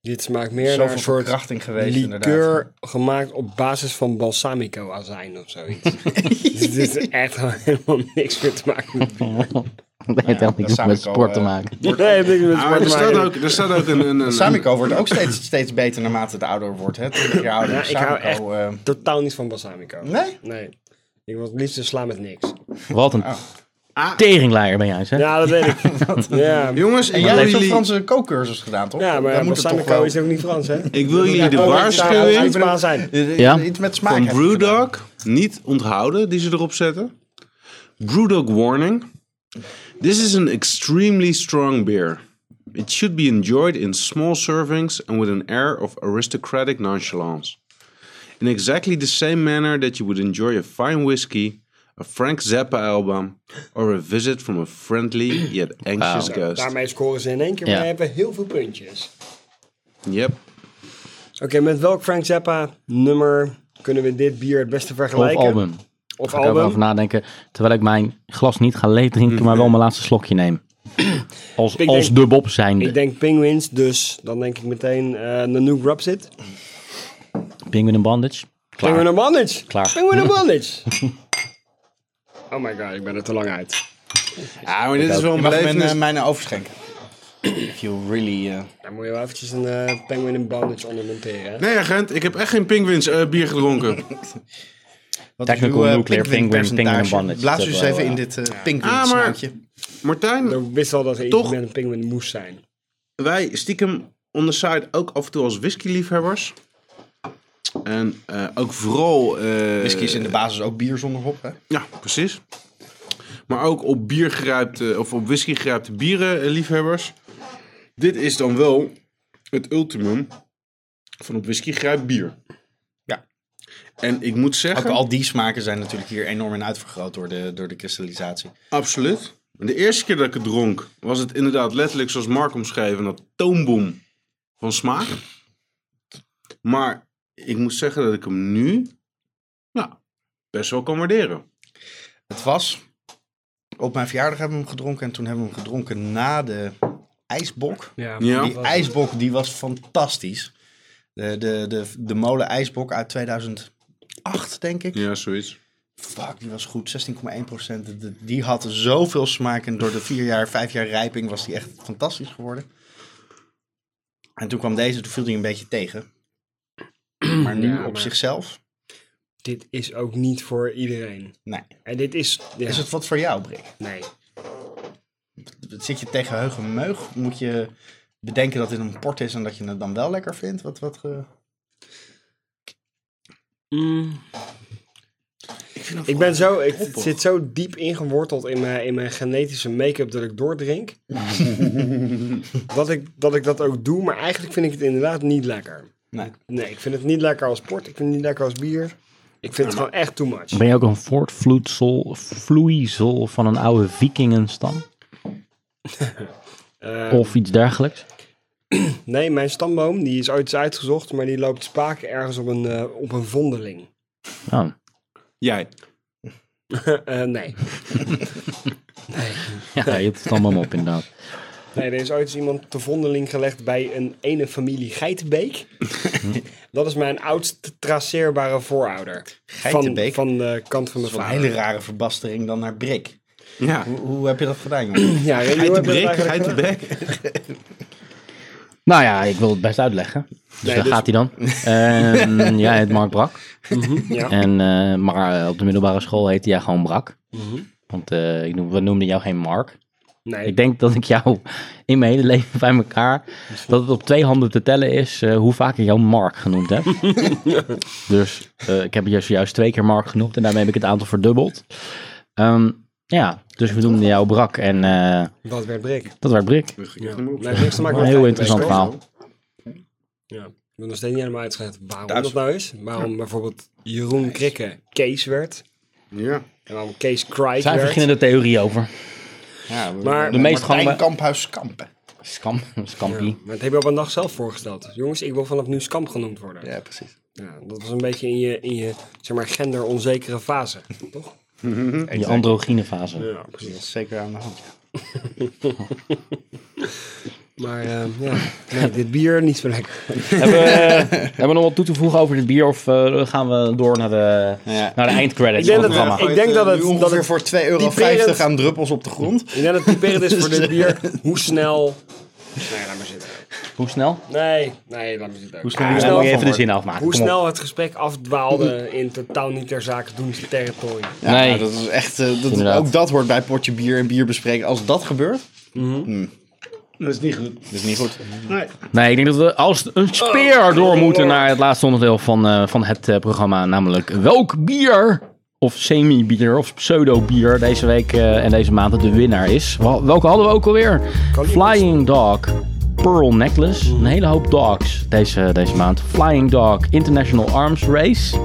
Dit smaakt meer naar
zoveel
een soort
verkrachting geweest inderdaad.
liqueur gemaakt op basis van balsamico-azijn of zoiets. dus dit is echt helemaal niks meer te maken met bier. Nou
Dat heeft helemaal niks
samen
met
komen,
sport te
eh,
maken.
Nee, heb niks met
Ah, maar
sport
er
te
staat
maken.
ook, er staat ook een... een, een
Samico wordt ook steeds, steeds beter naarmate het ouder wordt. Hè? Twintig jaar ouder.
Ja, ik hou
Samico, eh,
Totaal niet van balsamico.
nee?
Nee. Ik wil het liefst een sla met niks.
Wat een
Oh.
Ah.
teringleier ben jij, zeg.
Ja, dat weet ik. ja.
Jongens,
En
ik
jij
wil,
hebt een
jullie,
Franse kookcursus gedaan, toch?
ja, maar
Dan
ja,
moet het toch
balsamico
wel...
is ook niet Frans, hè?
ik wil jullie de
oh,
Ja,
waarschuwing
zou Spaans zijn.
Ja.
eh, Iets met smaak.
van
heeft het gedaan.
Brewdog niet onthouden, die ze erop zetten. Brewdog warning. This is an extremely strong beer. It should be enjoyed in small servings and with an air of aristocratic nonchalance. In exactly the same manner that you would enjoy a fine whiskey, a Frank Zappa album, or a visit from a friendly yet anxious guest.
Daarmee scoren ze in één keer,
Ja.
maar hebben heel veel puntjes.
Yep.
Oké, met welk Frank Zappa nummer kunnen we dit bier het beste
Of
vergelijken?
album. Daar kan
Of
ik wel over
album.
nadenken. Terwijl ik mijn glas niet ga leeg drinken, maar wel mijn laatste slokje neem. Als,
Mhm. denk-
als de Bob zijnde.
Ik denk Penguins, dus dan denk ik meteen eh Nanook Rupsit.
Penguin in Bandage. Klaar.
Penguin Abundance.
Klaar.
Penguin Abundance. oh my god, ik ben er te lang uit.
Ja, Ah, maar dit is wel
Je
een
mag mijn, eh,
belevenis.
mijn overschenken. If you really... eh,
Dan moet je wel eventjes een eh, Penguin in Bandage onder monteren. hè?
Nee, agent, ik heb echt geen Penguins eh, bier gedronken.
Wat
Technical
is uw, eh,
nuclear penguin,
percentage?
penguin bondage.
Blaas
Dat
u eens
wel,
even
ja.
in dit eh penguin
Ah, maar-
smaakje.
Martijn,
Ik wist al dat er iets
Toch-
met een penguin moest zijn.
wij stiekem on the side ook af en toe als whisky-liefhebbers. En eh, ook vooral... eh,
Whisky is in de basis ook bier zonder hop, hè?
Ja, precies. Maar ook op bier geruipte, of op whisky geruipte bieren eh, liefhebbers. Dit is dan wel het ultimum van op whisky geruipt bier.
Ja.
En ik moet
Ook
zeggen...
al die smaken zijn natuurlijk hier enorm in uitvergroot door de, door de kristallisatie.
Absoluut. De eerste keer dat ik het dronk, was het inderdaad letterlijk zoals Mark omschreven, dat toonboom van smaak. Maar ik moet zeggen dat ik hem nu ja, best wel kan waarderen.
Het was... Op mijn verjaardag hebben we hem gedronken en toen hebben we hem gedronken na de ijsbok.
Ja.
Ja,
Die ijsbok die was fantastisch. De, de, de, de molen ijsbok uit 2008, denk ik.
ja zoiets.
Fuck, die was goed. 16,1 procent. Die had zoveel smaak. En door de vier jaar, vijf jaar rijping was die echt fantastisch geworden. En toen kwam deze, toen viel die een beetje tegen. Maar nu
Ja,
op
maar-
zichzelf?
Dit is ook niet voor iedereen.
Nee.
En dit is... ja,
Is het wat voor jou, Brik?
Nee.
Zit je tegen heugen meug? Moet je bedenken dat dit een port is en dat je het dan wel lekker vindt? Wat, wat, eh,
Ik ben zo, ik het zit zo diep ingeworteld in mijn, in mijn genetische make-up dat ik doordrink. dat, ik, dat ik dat ook doe, maar eigenlijk vind ik het inderdaad niet lekker.
Nee.
Nee, ik vind het niet lekker als sport, ik vind het niet lekker als bier. Ik vind het gewoon echt too much.
Ben je ook een voortvloeisel vloeisel van een oude vikingenstam?
Eh,
Of iets dergelijks?
nee, mijn stamboom die is ooit eens uitgezocht, maar die loopt spaak ergens op een, eh, op een vondeling.
Oh.
Jij.
Eh, nee.
Ja, je hebt het allemaal op inderdaad.
Nee, er is ooit eens iemand te vondeling gelegd bij een ene familie Geitenbeek. dat is mijn oudst traceerbare voorouder.
Geitenbeek?
Van, van de kant van mijn
Een
vader.
hele rare verbastering dan naar Brik.
Ja.
Hoe, hoe heb je dat gedaan, jongen?
Ja, Remy, hoe
Geit de
heb je dat
brik,
eigenlijk
geit de
gedaan?
bek.
Nou ja, ik wil het best uitleggen. Dus daar
dus-
gaat hij dan. Ehm, jij heet Mark Brak.
Ja.
En, eh, maar eh, op de middelbare school heette jij gewoon Brak. Want eh, ik noem- we noemden jou geen Mark.
Mhm. Nee.
Ik denk dat ik jou in mijn hele leven bij elkaar, dat het op twee handen te tellen is eh, hoe vaak ik jou Mark genoemd heb. dus eh, ik heb je zojuist twee keer Mark genoemd en daarmee heb ik het aantal verdubbeld. Ehm, ja, dus we noemden jou Brak en eh,
Dat werd Brik.
dat werd Brik.
Ja. Blijft niks te maken
Een
met
heel
feiten,
interessant
weet je wel.
verhaal.
Ja. Ik ben nog steeds niet helemaal uitgelegd waarom dat nou is. Waarom bijvoorbeeld Jeroen Krikke Kees werd.
Ja.
En waarom Kees Krijk
Er zijn
werd.
verschillende theorieën over.
Ja, we-
Maar-
De meest
Martijn
eh,
gangbare-
Kamphuis Kampen.
Scam,
Ja,
scampie.
maar dat heb je op een dag zelf voorgesteld. Dus Jongens, ik wil vanaf nu Skamp genoemd worden. Ja.
Ja, precies.
dat was een beetje in je, in je zeg maar, genderonzekere fase, toch?
Die androgyne fase.
Ja,
Dat is zeker aan de hand. ja.
Maar eh, ja, nee, dit bier niet zo lekker.
hebben, we, eh, hebben we nog wat toe te voegen over dit bier of eh, gaan we door naar de,
Ja.
naar de eindcredits
Ik
van
denk
het
dat,
programma?
ik denk dat
Nu
het, dat
ongeveer
het,
voor 2,50 euro
typerend-
aan druppels op de grond.
ik denk dat het typerend is voor dit bier hoe snel... Nee, laat maar zitten.
Hoe snel?
Nee, nee, laat maar zitten.
Hoe snel?
Hoe
Hoe
snel,
even de zin afmaken.
hoe
kom op.
snel het gesprek afdwaalde in totaal niet ter zake doen territorium.
Ja,
Nee.
nou, dat is echt, eh, dat,
Inderdaad.
ook dat hoort bij potje bier en bier bespreken. Als dat gebeurt,
Dat is niet goed.
dat is niet goed.
Nee, ik denk dat we als een speer door moeten naar het laatste onderdeel van, eh, van het eh, programma. Namelijk welk bier, of semi-bier, of pseudo-bier deze week eh, en deze maand de winnaar is. Wel- Welke hadden we ook alweer? Flying Dog Pearl Necklace. Een hele hoop dogs deze, deze maand. Flying Dog International Arms Race.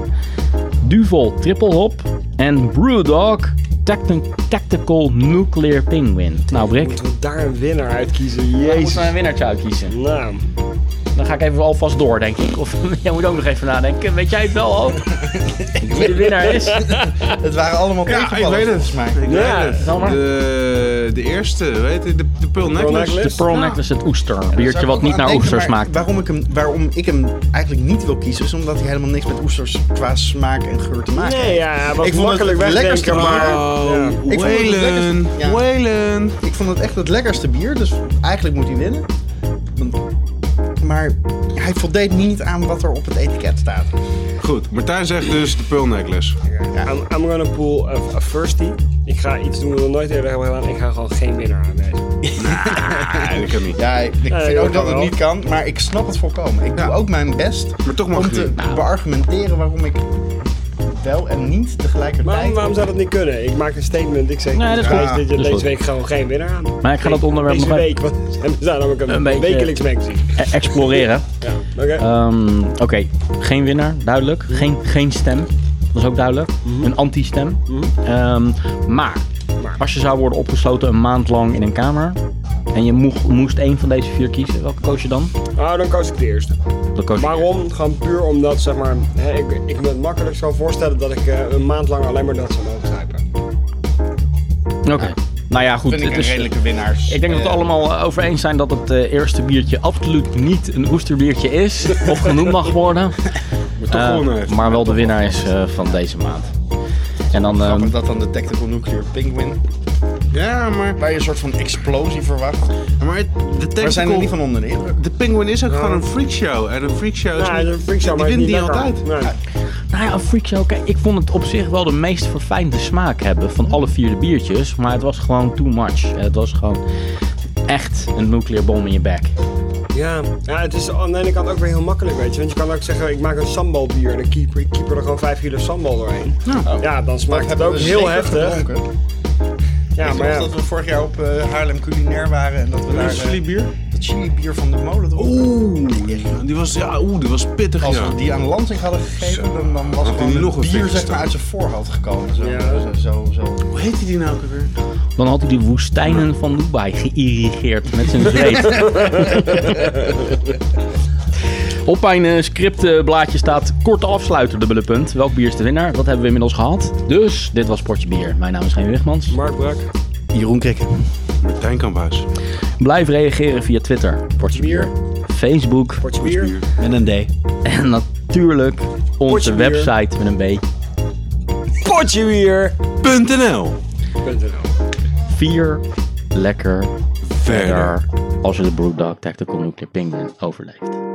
Duvel Triple Hop. En Brewdog Tacti- Tactical Nuclear Penguin. Nou, Brik.
Moeten we daar een winnaar uitkiezen?
we
Jezus.
moeten een winnaartje uitkiezen.
Nou,
Dan ga ik even alvast door, denk ik. Of jij moet ook nog even nadenken. Weet jij het wel al? Wie de winnaar is?
Het waren allemaal
Ja, ik
tegenvallers,
weet het.
volgens mij.
Ik
Ja,
weet het.
zal maar.
De, de eerste, weet je, de, de Pearl Necklace.
De Pearl Necklace, het oester.
Daar
Biertje
Nou. zou ik
wat niet
ook aan
naar
denken,
oester
maar
smaakt.
Waarom ik, hem, waarom ik hem eigenlijk niet wil kiezen, is omdat hij helemaal niks met oesters qua smaak en geur te maken
nee,
heeft.
ja, wat
Ik vond het
makkelijk
het
wegdenken,
lekkerste
maar...
Oh,
Ja.
Ik vond het
Whalen.
lekkerste- ja.
Whalen.
Ik vond het echt het lekkerste bier, dus eigenlijk moet hij winnen. Want- Maar hij voldeed niet aan wat er op het etiket staat. Dus, eh,
Goed, Martijn zegt dus de Pearl Necklace.
I'm, I'm gonna pull a, a firsty. Ik ga iets doen wat we nooit eerder hebben gedaan. Ik ga gewoon geen winnaar aanwijzen.
Nee, dat kan niet.
Ja, ik vind
dat
ook
kan
dat het
wel.
niet kan, maar ik snap het volkomen. Ik
Ja.
doe ook mijn best
Maar toch mag
om
het
te
niet. Nou.
beargumenteren waarom ik wel en niet tegelijkertijd...
Maar waarom zou dat niet kunnen? Ik maak een statement. Ik zeg
Nee, dat is
deze,
goed.
deze-
Dat is
deze
goed.
week gewoon geen winnaar aan.
Maar ik ga dat onderwerp
Deze
nog even
week, want we zijn namelijk een,
Een beetje-
wekelijks magazine.
eh, exploreren.
Ja, oké.
Ehm, Oké, geen winnaar, duidelijk. Geen, geen stem, dat is ook duidelijk. Een anti-stem. Ehm, maar, als je zou worden opgesloten een maand lang in een kamer... en je moeg- moest één van deze vier kiezen, welke koos je dan?
Nou, dan koos ik de eerste.
Dan koos je-
Waarom? Gewoon puur omdat, zeg maar, hè, ik, ik me het makkelijk zou voorstellen dat ik eh, een maand lang alleen maar dat zou mogen grijpen.
Oké. Nou ja, goed.
vind ik
het
een
is,
redelijke winnaars.
Ik denk dat we het allemaal eh, over eens zijn dat het eh, eerste biertje absoluut niet een oesterbiertje is. Of genoemd mag worden.
Maar toch
Eh,
gewonnen heeft.
maar wel de winnaar is eh, van deze maand. En dan, eh,
Grappig dat dan de Tactical Nuclear Penguin,
Ja, maar,
waar je een soort van explosie verwacht.
maar het- de
Waar zijn er
tactical...
niet van onder de indruk.
De Penguin is ook gewoon een freakshow. En een freakshow is
Nou,
niet-
dat vind ik zo, maar
die
het
wint
is
niet
lekker.
altijd.
Nee.
nou ja, een freakshow. Kijk, ik vond het op zich wel de meest verfijnde smaak hebben van alle vier de biertjes. Maar het was gewoon too much. Eh, Het was gewoon echt een nuclear bom in je bek.
Ja, ja, het is aan de ene kant ook weer heel makkelijk, weet je. Want je kan ook zeggen, ik maak een sambal bier en ik keep, ik keep er gewoon 5 kilo sambal doorheen.
Ja.
Ja, dan smaakt het
Hebben
ook
we
heel
zeker
heftig.
gedronken.
Ja,
ik
maar
geloof
ja.
dat we vorig jaar op eh, Haarlem culinair waren en dat we daar
Een
eh,
chili-bier?
dat chili bier van de molen dronken.
Oeh, die was, ja, oeh, die was pittig,
Als
ja.
we die aan Lansing hadden gegeven, dan, dan was
hij
gewoon het
nog een
bier
vinger
zeg maar,
staan.
uit zijn voorhoofd gekomen. Zo,
Ja.
zo, zo, zo.
Hoe heette die nou ook alweer?
Dan had hij de woestijnen van Dubai geïrrigeerd met zijn zweet. Op mijn eh, scriptblaadje staat korte afsluiter, dubbele punt. Welk bier is de winnaar? Dat hebben we inmiddels gehad. Dus, dit was Portje Bier. Mijn naam is Geen Wigmans.
Mark Brak,
Jeroen Krikken.
Martijn Kamphuis.
Blijf reageren via Twitter. Portje
bier,
Facebook.
potje bier,
Met een D.
En natuurlijk
Portje
onze
Bier.
website met een B.
potje bier.
.nl
Vier lekker
Verder.
verder als je de Brewdog Tactical Nuclear Penguin overleeft.